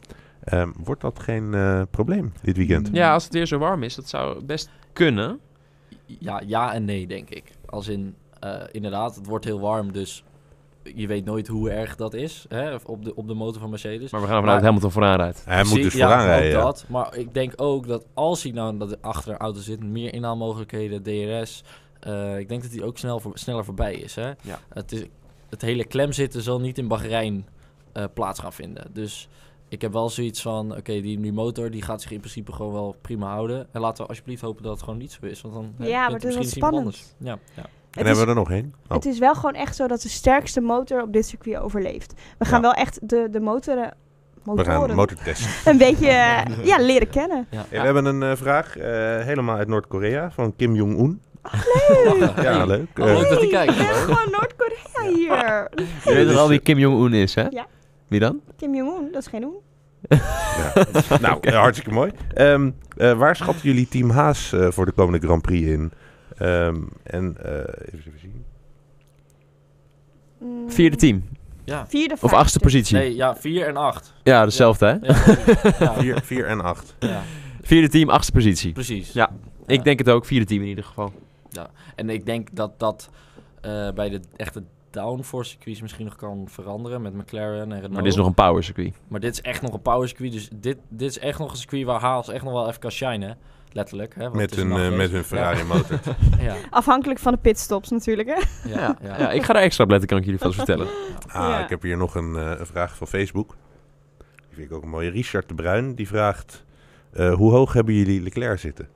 [SPEAKER 4] Ehm, wordt dat geen eh, probleem dit weekend?
[SPEAKER 1] Ja, als het weer zo warm is, dat zou best kunnen.
[SPEAKER 2] Ja, ja en nee, denk ik. Als in, eh, inderdaad, het wordt heel warm, dus je weet nooit hoe erg dat is hè, op, de, op de motor van Mercedes.
[SPEAKER 1] Maar we gaan ervan
[SPEAKER 2] Maar-
[SPEAKER 1] uit dat Hamilton vooraan rijdt.
[SPEAKER 4] Hij moet dus
[SPEAKER 2] Precies, ja,
[SPEAKER 4] vooraan
[SPEAKER 2] ook
[SPEAKER 4] rijden.
[SPEAKER 2] dat. Maar ik denk ook dat als hij nou dat achter een auto zit, meer inhaalmogelijkheden, DRS. eh, ik denk dat hij ook snel voor, sneller voorbij is. Hè?
[SPEAKER 1] Ja.
[SPEAKER 2] Het, is het hele klemzitten zal niet in Bahrein eh, plaats gaan vinden. Dus ik heb wel zoiets van, oké, die, die motor die gaat zich in principe gewoon wel prima houden. En laten we alsjeblieft hopen dat het gewoon niet zo is. Want dan eh,
[SPEAKER 3] Ja,
[SPEAKER 2] wint
[SPEAKER 3] maar het
[SPEAKER 2] er
[SPEAKER 3] is wel
[SPEAKER 2] misschien iemand
[SPEAKER 3] spannend.
[SPEAKER 2] anders. Ja, ja.
[SPEAKER 4] En
[SPEAKER 3] Het is
[SPEAKER 4] hebben we er nog één? Oh.
[SPEAKER 3] Het is wel gewoon echt zo dat de sterkste motor op dit circuit overleeft. We gaan
[SPEAKER 4] Ja.
[SPEAKER 3] wel echt de, de motoren,
[SPEAKER 4] We gaan
[SPEAKER 3] motoren
[SPEAKER 4] een motortest.
[SPEAKER 3] een beetje eh, ja, leren kennen.
[SPEAKER 2] Ja.
[SPEAKER 4] Hey, we hebben een eh, vraag eh, helemaal uit Noord-Korea van Kim Jong-un.
[SPEAKER 2] Lachen.
[SPEAKER 4] Ja, leuk.
[SPEAKER 2] Al leuk
[SPEAKER 4] Eh,
[SPEAKER 2] dat hij
[SPEAKER 3] Hey,
[SPEAKER 2] kijkt.
[SPEAKER 3] we hebben gewoon Noord-Korea hier.
[SPEAKER 1] Je weet toch al wie Kim Jong-un is, hè?
[SPEAKER 3] Ja.
[SPEAKER 1] Wie dan?
[SPEAKER 3] Kim Jong-un, dat is geen Oen.
[SPEAKER 4] nou, eh, hartstikke mooi. Ehm, eh, waar schatten jullie Team Haas eh, voor de komende Grand Prix in? Ehm, en eh, even even zien.
[SPEAKER 3] Mm,
[SPEAKER 1] Vierde team.
[SPEAKER 2] Ja.
[SPEAKER 3] Vierde
[SPEAKER 1] Of
[SPEAKER 3] vijfde.
[SPEAKER 1] achtste positie.
[SPEAKER 2] Nee, ja, 4 en 8.
[SPEAKER 1] Ja, dezelfde, hè?
[SPEAKER 2] Ja, ja,
[SPEAKER 4] 4 en 8.
[SPEAKER 2] ja,
[SPEAKER 1] Vierde team, achtste positie.
[SPEAKER 2] precies.
[SPEAKER 1] Ja. Ik denk het ook, vierde team in ieder geval.
[SPEAKER 2] En ik denk dat dat eh, bij de echte downforce circuits misschien nog kan veranderen met McLaren en Renault.
[SPEAKER 1] Maar dit is nog een power circuit.
[SPEAKER 2] Maar dit is echt nog een power circuit. Dus dit, dit is echt nog een circuit waar Haas echt nog wel even kan shinen. Letterlijk. Hè, want het
[SPEAKER 4] Met
[SPEAKER 2] is
[SPEAKER 4] hun,
[SPEAKER 2] een
[SPEAKER 4] eh,
[SPEAKER 2] nachtrace.
[SPEAKER 4] met hun Ferrari motor.
[SPEAKER 2] Ja, ja,
[SPEAKER 3] Afhankelijk van de pitstops natuurlijk, hè.
[SPEAKER 2] ja, ja.
[SPEAKER 1] Ja, ik ga daar extra op letten, kan ik jullie vast vertellen.
[SPEAKER 4] Ah,
[SPEAKER 3] Ja.
[SPEAKER 4] ik heb hier nog een, eh, een vraag van Facebook. Die vind ik ook een mooie. Richard de Bruin, die vraagt... eh, hoe hoog hebben jullie Leclerc zitten?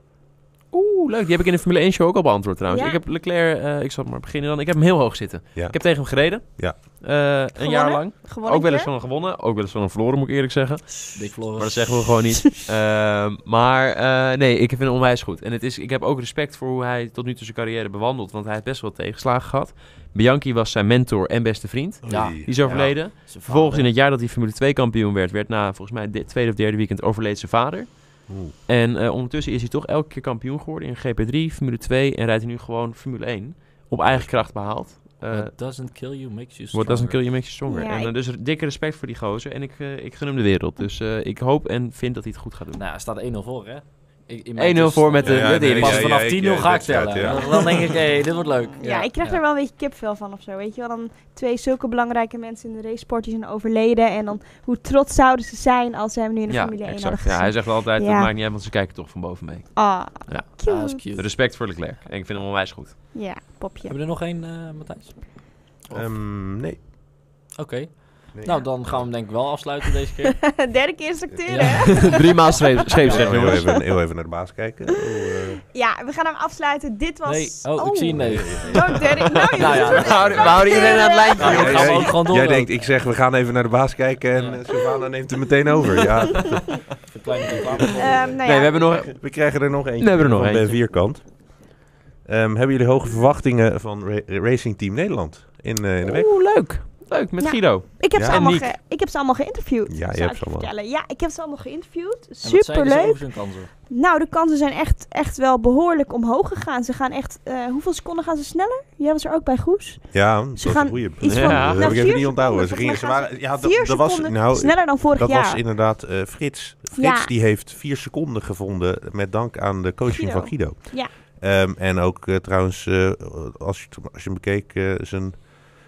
[SPEAKER 1] Oeh, leuk. Die heb ik in de Formule 1 show ook al beantwoord trouwens.
[SPEAKER 3] Ja.
[SPEAKER 1] Ik heb Leclerc, eh, ik zal maar beginnen dan. Ik heb hem heel hoog zitten.
[SPEAKER 4] Ja.
[SPEAKER 1] Ik heb tegen hem gereden.
[SPEAKER 4] Ja.
[SPEAKER 1] Eh, een jaar
[SPEAKER 3] Gewonnen?
[SPEAKER 1] lang.
[SPEAKER 3] Gewoon
[SPEAKER 1] Ook wel eens van hem gewonnen. Ook wel eens van hem verloren, moet ik eerlijk zeggen.
[SPEAKER 2] Dick Flores.
[SPEAKER 1] Maar dat zeggen we gewoon niet. Ehm, maar eh, nee, ik vind hem onwijs goed. En het is, ik heb ook respect voor hoe hij tot nu toe zijn carrière bewandelt. Want hij heeft best wel tegenslagen gehad. Bianchi was zijn mentor en beste vriend.
[SPEAKER 2] Ja,
[SPEAKER 4] Oei.
[SPEAKER 1] Die is overleden.
[SPEAKER 2] Zijn
[SPEAKER 1] Vervolgens in
[SPEAKER 2] vader.
[SPEAKER 1] het jaar dat hij Formule 2 kampioen werd, werd na volgens mij het tweede of derde weekend overleed zijn vader.
[SPEAKER 4] Oeh.
[SPEAKER 1] En eh, ondertussen is hij toch elke keer kampioen geworden in GP3, Formule 2 en rijdt hij nu gewoon Formule 1. Op eigen kracht behaald. Eh
[SPEAKER 2] What doesn't kill you makes you
[SPEAKER 1] What
[SPEAKER 2] stronger.
[SPEAKER 1] doesn't kill you makes you stronger.
[SPEAKER 3] Ja,
[SPEAKER 1] en, eh,
[SPEAKER 3] ik-
[SPEAKER 1] dus er- dikke respect voor die gozer. En ik, eh, ik gun hem de wereld. Dus eh, ik hoop en vind dat hij het goed gaat doen.
[SPEAKER 2] Nou, er staat 1-0 voor, hè? Ik- in mijn
[SPEAKER 1] 1-0
[SPEAKER 2] toestand-
[SPEAKER 1] voor met de-
[SPEAKER 4] Ja, met de nee,
[SPEAKER 2] Pas
[SPEAKER 4] ja,
[SPEAKER 2] vanaf
[SPEAKER 4] ja,
[SPEAKER 2] 10-0
[SPEAKER 4] ik- ja,
[SPEAKER 2] ga ik
[SPEAKER 4] dat staat,
[SPEAKER 2] tellen.
[SPEAKER 4] ja.
[SPEAKER 2] Dan- Dan denk ik, hé, dit wordt leuk.
[SPEAKER 3] Ja, ik krijg
[SPEAKER 2] ja.
[SPEAKER 3] er wel een beetje kipvel van of zo. Weet je wel, dan twee zulke belangrijke mensen in de raceport die zijn overleden. En dan hoe trots zouden ze zijn als ze hem nu in de Formule 1 hadden
[SPEAKER 1] Ja,
[SPEAKER 3] gezien.
[SPEAKER 1] hij zegt altijd, dat
[SPEAKER 3] Ja.
[SPEAKER 1] maakt niet uit, want ze kijken toch van boven mee.
[SPEAKER 3] Ah,
[SPEAKER 1] Ja.
[SPEAKER 3] cute.
[SPEAKER 2] Ah, is cute.
[SPEAKER 1] Respect voor Leclerc. En ik vind hem onwijs goed.
[SPEAKER 3] Ja, popje.
[SPEAKER 2] Hebben we er nog één, eh, Matthijs? Of-
[SPEAKER 4] Ehm, nee.
[SPEAKER 2] Oké.
[SPEAKER 4] Nee.
[SPEAKER 2] Nou, dan gaan we hem denk ik wel afsluiten deze keer.
[SPEAKER 3] Derde keer instructeur,
[SPEAKER 2] Ja.
[SPEAKER 3] hè?
[SPEAKER 1] Drie maal scheep,
[SPEAKER 4] Heel
[SPEAKER 1] scheepsrecht,
[SPEAKER 4] heel
[SPEAKER 1] jongens. Nou
[SPEAKER 4] even, heel even naar de baas kijken. Oh, eh,
[SPEAKER 3] Ja, we gaan hem afsluiten. Dit was...
[SPEAKER 2] Nee, oh, ik zie een nee.
[SPEAKER 3] Oh, derde... Nou,
[SPEAKER 2] Nou ja,
[SPEAKER 3] jongens,
[SPEAKER 1] we houden- we houden iedereen aan het lijntje,
[SPEAKER 2] Nou,
[SPEAKER 1] joh.
[SPEAKER 2] gaan we ook gewoon door.
[SPEAKER 4] Jij
[SPEAKER 2] ook.
[SPEAKER 4] denkt, ik zeg, we gaan even naar de baas kijken en eh, Sylvana neemt hem meteen over. Ja,
[SPEAKER 2] Even kleine reclame.
[SPEAKER 3] Ehm, nou ja.
[SPEAKER 1] Nee, we hebben nog...
[SPEAKER 4] we krijgen er nog eentje.
[SPEAKER 1] We hebben er nog
[SPEAKER 4] van Ben
[SPEAKER 1] eentje.
[SPEAKER 4] Vierkant. Ehm, hebben jullie hoge verwachtingen van Ra- Racing Team Nederland in, eh, in de week?
[SPEAKER 1] Oeh, leuk. Leuk, met
[SPEAKER 3] Ja.
[SPEAKER 1] Guido.
[SPEAKER 3] Ik heb,
[SPEAKER 4] Ja.
[SPEAKER 3] ze
[SPEAKER 4] En
[SPEAKER 3] allemaal
[SPEAKER 1] Niek.
[SPEAKER 3] ge- ik heb ze allemaal geïnterviewd.
[SPEAKER 4] Ja, je
[SPEAKER 3] zou
[SPEAKER 4] hebt
[SPEAKER 3] ik
[SPEAKER 4] ze allemaal.
[SPEAKER 3] vertellen. Ja, ik heb ze allemaal geïnterviewd.
[SPEAKER 2] En wat zeiden ze
[SPEAKER 3] Superleuk.
[SPEAKER 2] over hun kansen?
[SPEAKER 3] Nou, de kansen zijn echt, echt wel behoorlijk omhoog gegaan. Ze gaan echt... eh, hoeveel seconden gaan ze sneller? Jij was er ook bij Goes.
[SPEAKER 4] Ja, dat is
[SPEAKER 3] gaan
[SPEAKER 4] een goeie.
[SPEAKER 3] iets
[SPEAKER 1] van- Ja.
[SPEAKER 4] dat
[SPEAKER 3] nou,
[SPEAKER 4] heb ik even
[SPEAKER 3] vier
[SPEAKER 4] niet onthouden. Ze
[SPEAKER 3] seconden,
[SPEAKER 4] gingen, ze
[SPEAKER 3] volgens mij
[SPEAKER 4] waren, ja,
[SPEAKER 3] vier
[SPEAKER 4] dat, dat was,
[SPEAKER 3] seconden
[SPEAKER 4] nou,
[SPEAKER 3] Sneller dan vorig
[SPEAKER 4] dat
[SPEAKER 3] jaar.
[SPEAKER 4] was inderdaad eh, Frits. Frits
[SPEAKER 3] Ja.
[SPEAKER 4] die heeft vier seconden gevonden met dank aan de coaching
[SPEAKER 3] Guido.
[SPEAKER 4] van Guido.
[SPEAKER 3] Ja.
[SPEAKER 4] Ehm, en ook eh, trouwens, eh, als, je, het- als je hem bekeek, eh, zijn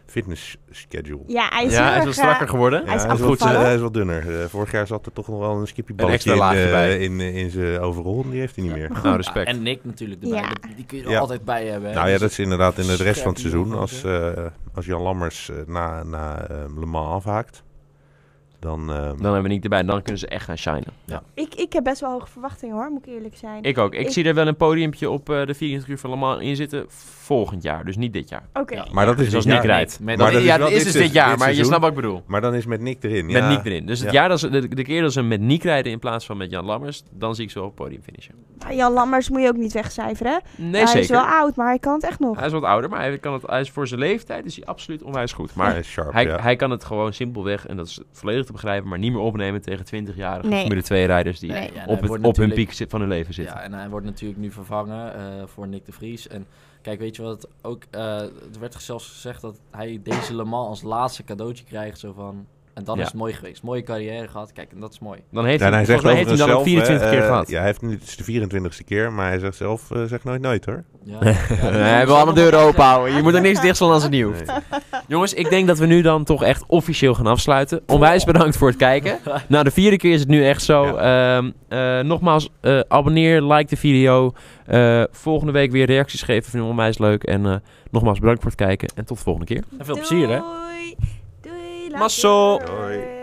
[SPEAKER 4] fitness schedule.
[SPEAKER 3] Ja, hij eh, is,
[SPEAKER 1] Ja, hij is
[SPEAKER 3] heel
[SPEAKER 1] wel
[SPEAKER 3] erg,
[SPEAKER 1] strakker geworden.
[SPEAKER 3] hij is
[SPEAKER 4] hij, is wat,
[SPEAKER 3] afgevallen.
[SPEAKER 4] hij is wat dunner. Eh, vorig jaar zat er toch nog wel een
[SPEAKER 1] Een
[SPEAKER 4] skippieballetje
[SPEAKER 1] extra
[SPEAKER 4] in,
[SPEAKER 1] laagje
[SPEAKER 4] eh,
[SPEAKER 1] bij.
[SPEAKER 4] in, eh, in zijn overrol. Die heeft hij niet meer.
[SPEAKER 1] Nou, respect.
[SPEAKER 2] En Nick natuurlijk erbij.
[SPEAKER 3] Ja.
[SPEAKER 2] Dat- Die kun je er
[SPEAKER 4] Ja.
[SPEAKER 2] altijd bij hebben. hè.
[SPEAKER 4] Nou ja,
[SPEAKER 2] Dus
[SPEAKER 4] dat is inderdaad in de rest van
[SPEAKER 2] Scherp
[SPEAKER 4] het seizoen.
[SPEAKER 2] nog,
[SPEAKER 4] Als, eh, als Jan Lammers eh, na, na eh, Le Mans afhaakt, dan... eh,
[SPEAKER 1] Dan hebben we niet erbij. en Dan kunnen ze echt gaan shinen.
[SPEAKER 3] Ik, ik heb best wel hoge verwachtingen hoor, moet ik eerlijk zijn.
[SPEAKER 1] Ik ook. Ik,
[SPEAKER 3] Ik-
[SPEAKER 1] zie er wel een podiumpje op eh, de 24 uur van Le Mans in zitten volgend jaar. Dus niet dit jaar.
[SPEAKER 3] Oké.
[SPEAKER 2] Ja.
[SPEAKER 4] maar dat is
[SPEAKER 1] Dus als
[SPEAKER 4] dit
[SPEAKER 1] Nick
[SPEAKER 4] jaar.
[SPEAKER 1] rijdt.
[SPEAKER 2] Met-
[SPEAKER 4] Maar
[SPEAKER 1] Dat-
[SPEAKER 4] dat
[SPEAKER 1] ja,
[SPEAKER 4] is wel
[SPEAKER 1] het is
[SPEAKER 4] dit
[SPEAKER 1] dus dit
[SPEAKER 4] se-
[SPEAKER 1] jaar.
[SPEAKER 4] dit
[SPEAKER 1] Maar je
[SPEAKER 4] seizoen.
[SPEAKER 1] snapt wat ik bedoel.
[SPEAKER 4] Maar dan is met Nick erin.
[SPEAKER 1] Met
[SPEAKER 4] ja.
[SPEAKER 1] Nick erin. Dus het
[SPEAKER 4] Ja.
[SPEAKER 1] jaar dat ze, de, de keer dat ze met Nick rijden in plaats van met Jan Lammers, dan zie ik ze wel op het podium finishen.
[SPEAKER 3] Nou, Jan Lammers moet je ook niet wegcijferen. hè?
[SPEAKER 1] Nee,
[SPEAKER 3] hij
[SPEAKER 1] zeker.
[SPEAKER 3] is wel oud, maar hij kan het echt nog.
[SPEAKER 1] Hij is wat ouder, maar hij, kan het, hij is voor zijn leeftijd is hij absoluut onwijs goed. Maar
[SPEAKER 4] Maar sharp,
[SPEAKER 1] hij,
[SPEAKER 4] ja.
[SPEAKER 1] hij kan het gewoon simpelweg, en dat is volledig te begrijpen, maar niet meer opnemen tegen 20-jarige
[SPEAKER 3] Nee.
[SPEAKER 1] Formule 2-rijders die
[SPEAKER 2] Nee, ja, en hij
[SPEAKER 1] op, het, op
[SPEAKER 2] wordt
[SPEAKER 1] hun
[SPEAKER 2] natuurlijk-
[SPEAKER 1] piek zit- van hun leven zitten.
[SPEAKER 2] Ja, en hij wordt natuurlijk nu vervangen eh, voor Nick de Vries. En kijk, weet je wat ook... eh er werd zelfs gezegd dat hij deze Le Mans als laatste cadeautje krijgt. Zo van, en dat
[SPEAKER 1] Ja.
[SPEAKER 2] is mooi geweest. Mooie carrière gehad. Kijk, en dat is mooi.
[SPEAKER 1] Dan heeft
[SPEAKER 4] Ja, en
[SPEAKER 1] hij,
[SPEAKER 4] hij
[SPEAKER 1] volgens
[SPEAKER 4] zegt
[SPEAKER 1] mij heeft hij
[SPEAKER 4] overigens
[SPEAKER 1] dan
[SPEAKER 4] zelf,
[SPEAKER 1] ook 24
[SPEAKER 4] eh,
[SPEAKER 1] keer
[SPEAKER 4] eh,
[SPEAKER 1] gehad.
[SPEAKER 4] Ja, hij heeft nu, het is de 24ste keer, maar hij zegt zelf, eh, zegt nooit nooit hoor.
[SPEAKER 2] Ja.
[SPEAKER 1] we hebben allemaal deuren open houden. Je moet er niks dicht slaan als het nieuw.
[SPEAKER 4] Nee.
[SPEAKER 1] Jongens, ik denk dat we nu dan toch echt officieel gaan afsluiten. Onwijs bedankt voor het kijken. Nou, de vierde keer is het nu echt zo. Ehm, eh, nogmaals, eh, abonneer, like de video. Eh, volgende week weer reacties geven. Vind ik onwijs leuk. En eh, nogmaals, bedankt voor het kijken. En tot de volgende keer.
[SPEAKER 2] En veel plezier, hè?
[SPEAKER 3] Doei. Doei. later.
[SPEAKER 1] Mazzel.
[SPEAKER 4] Doei.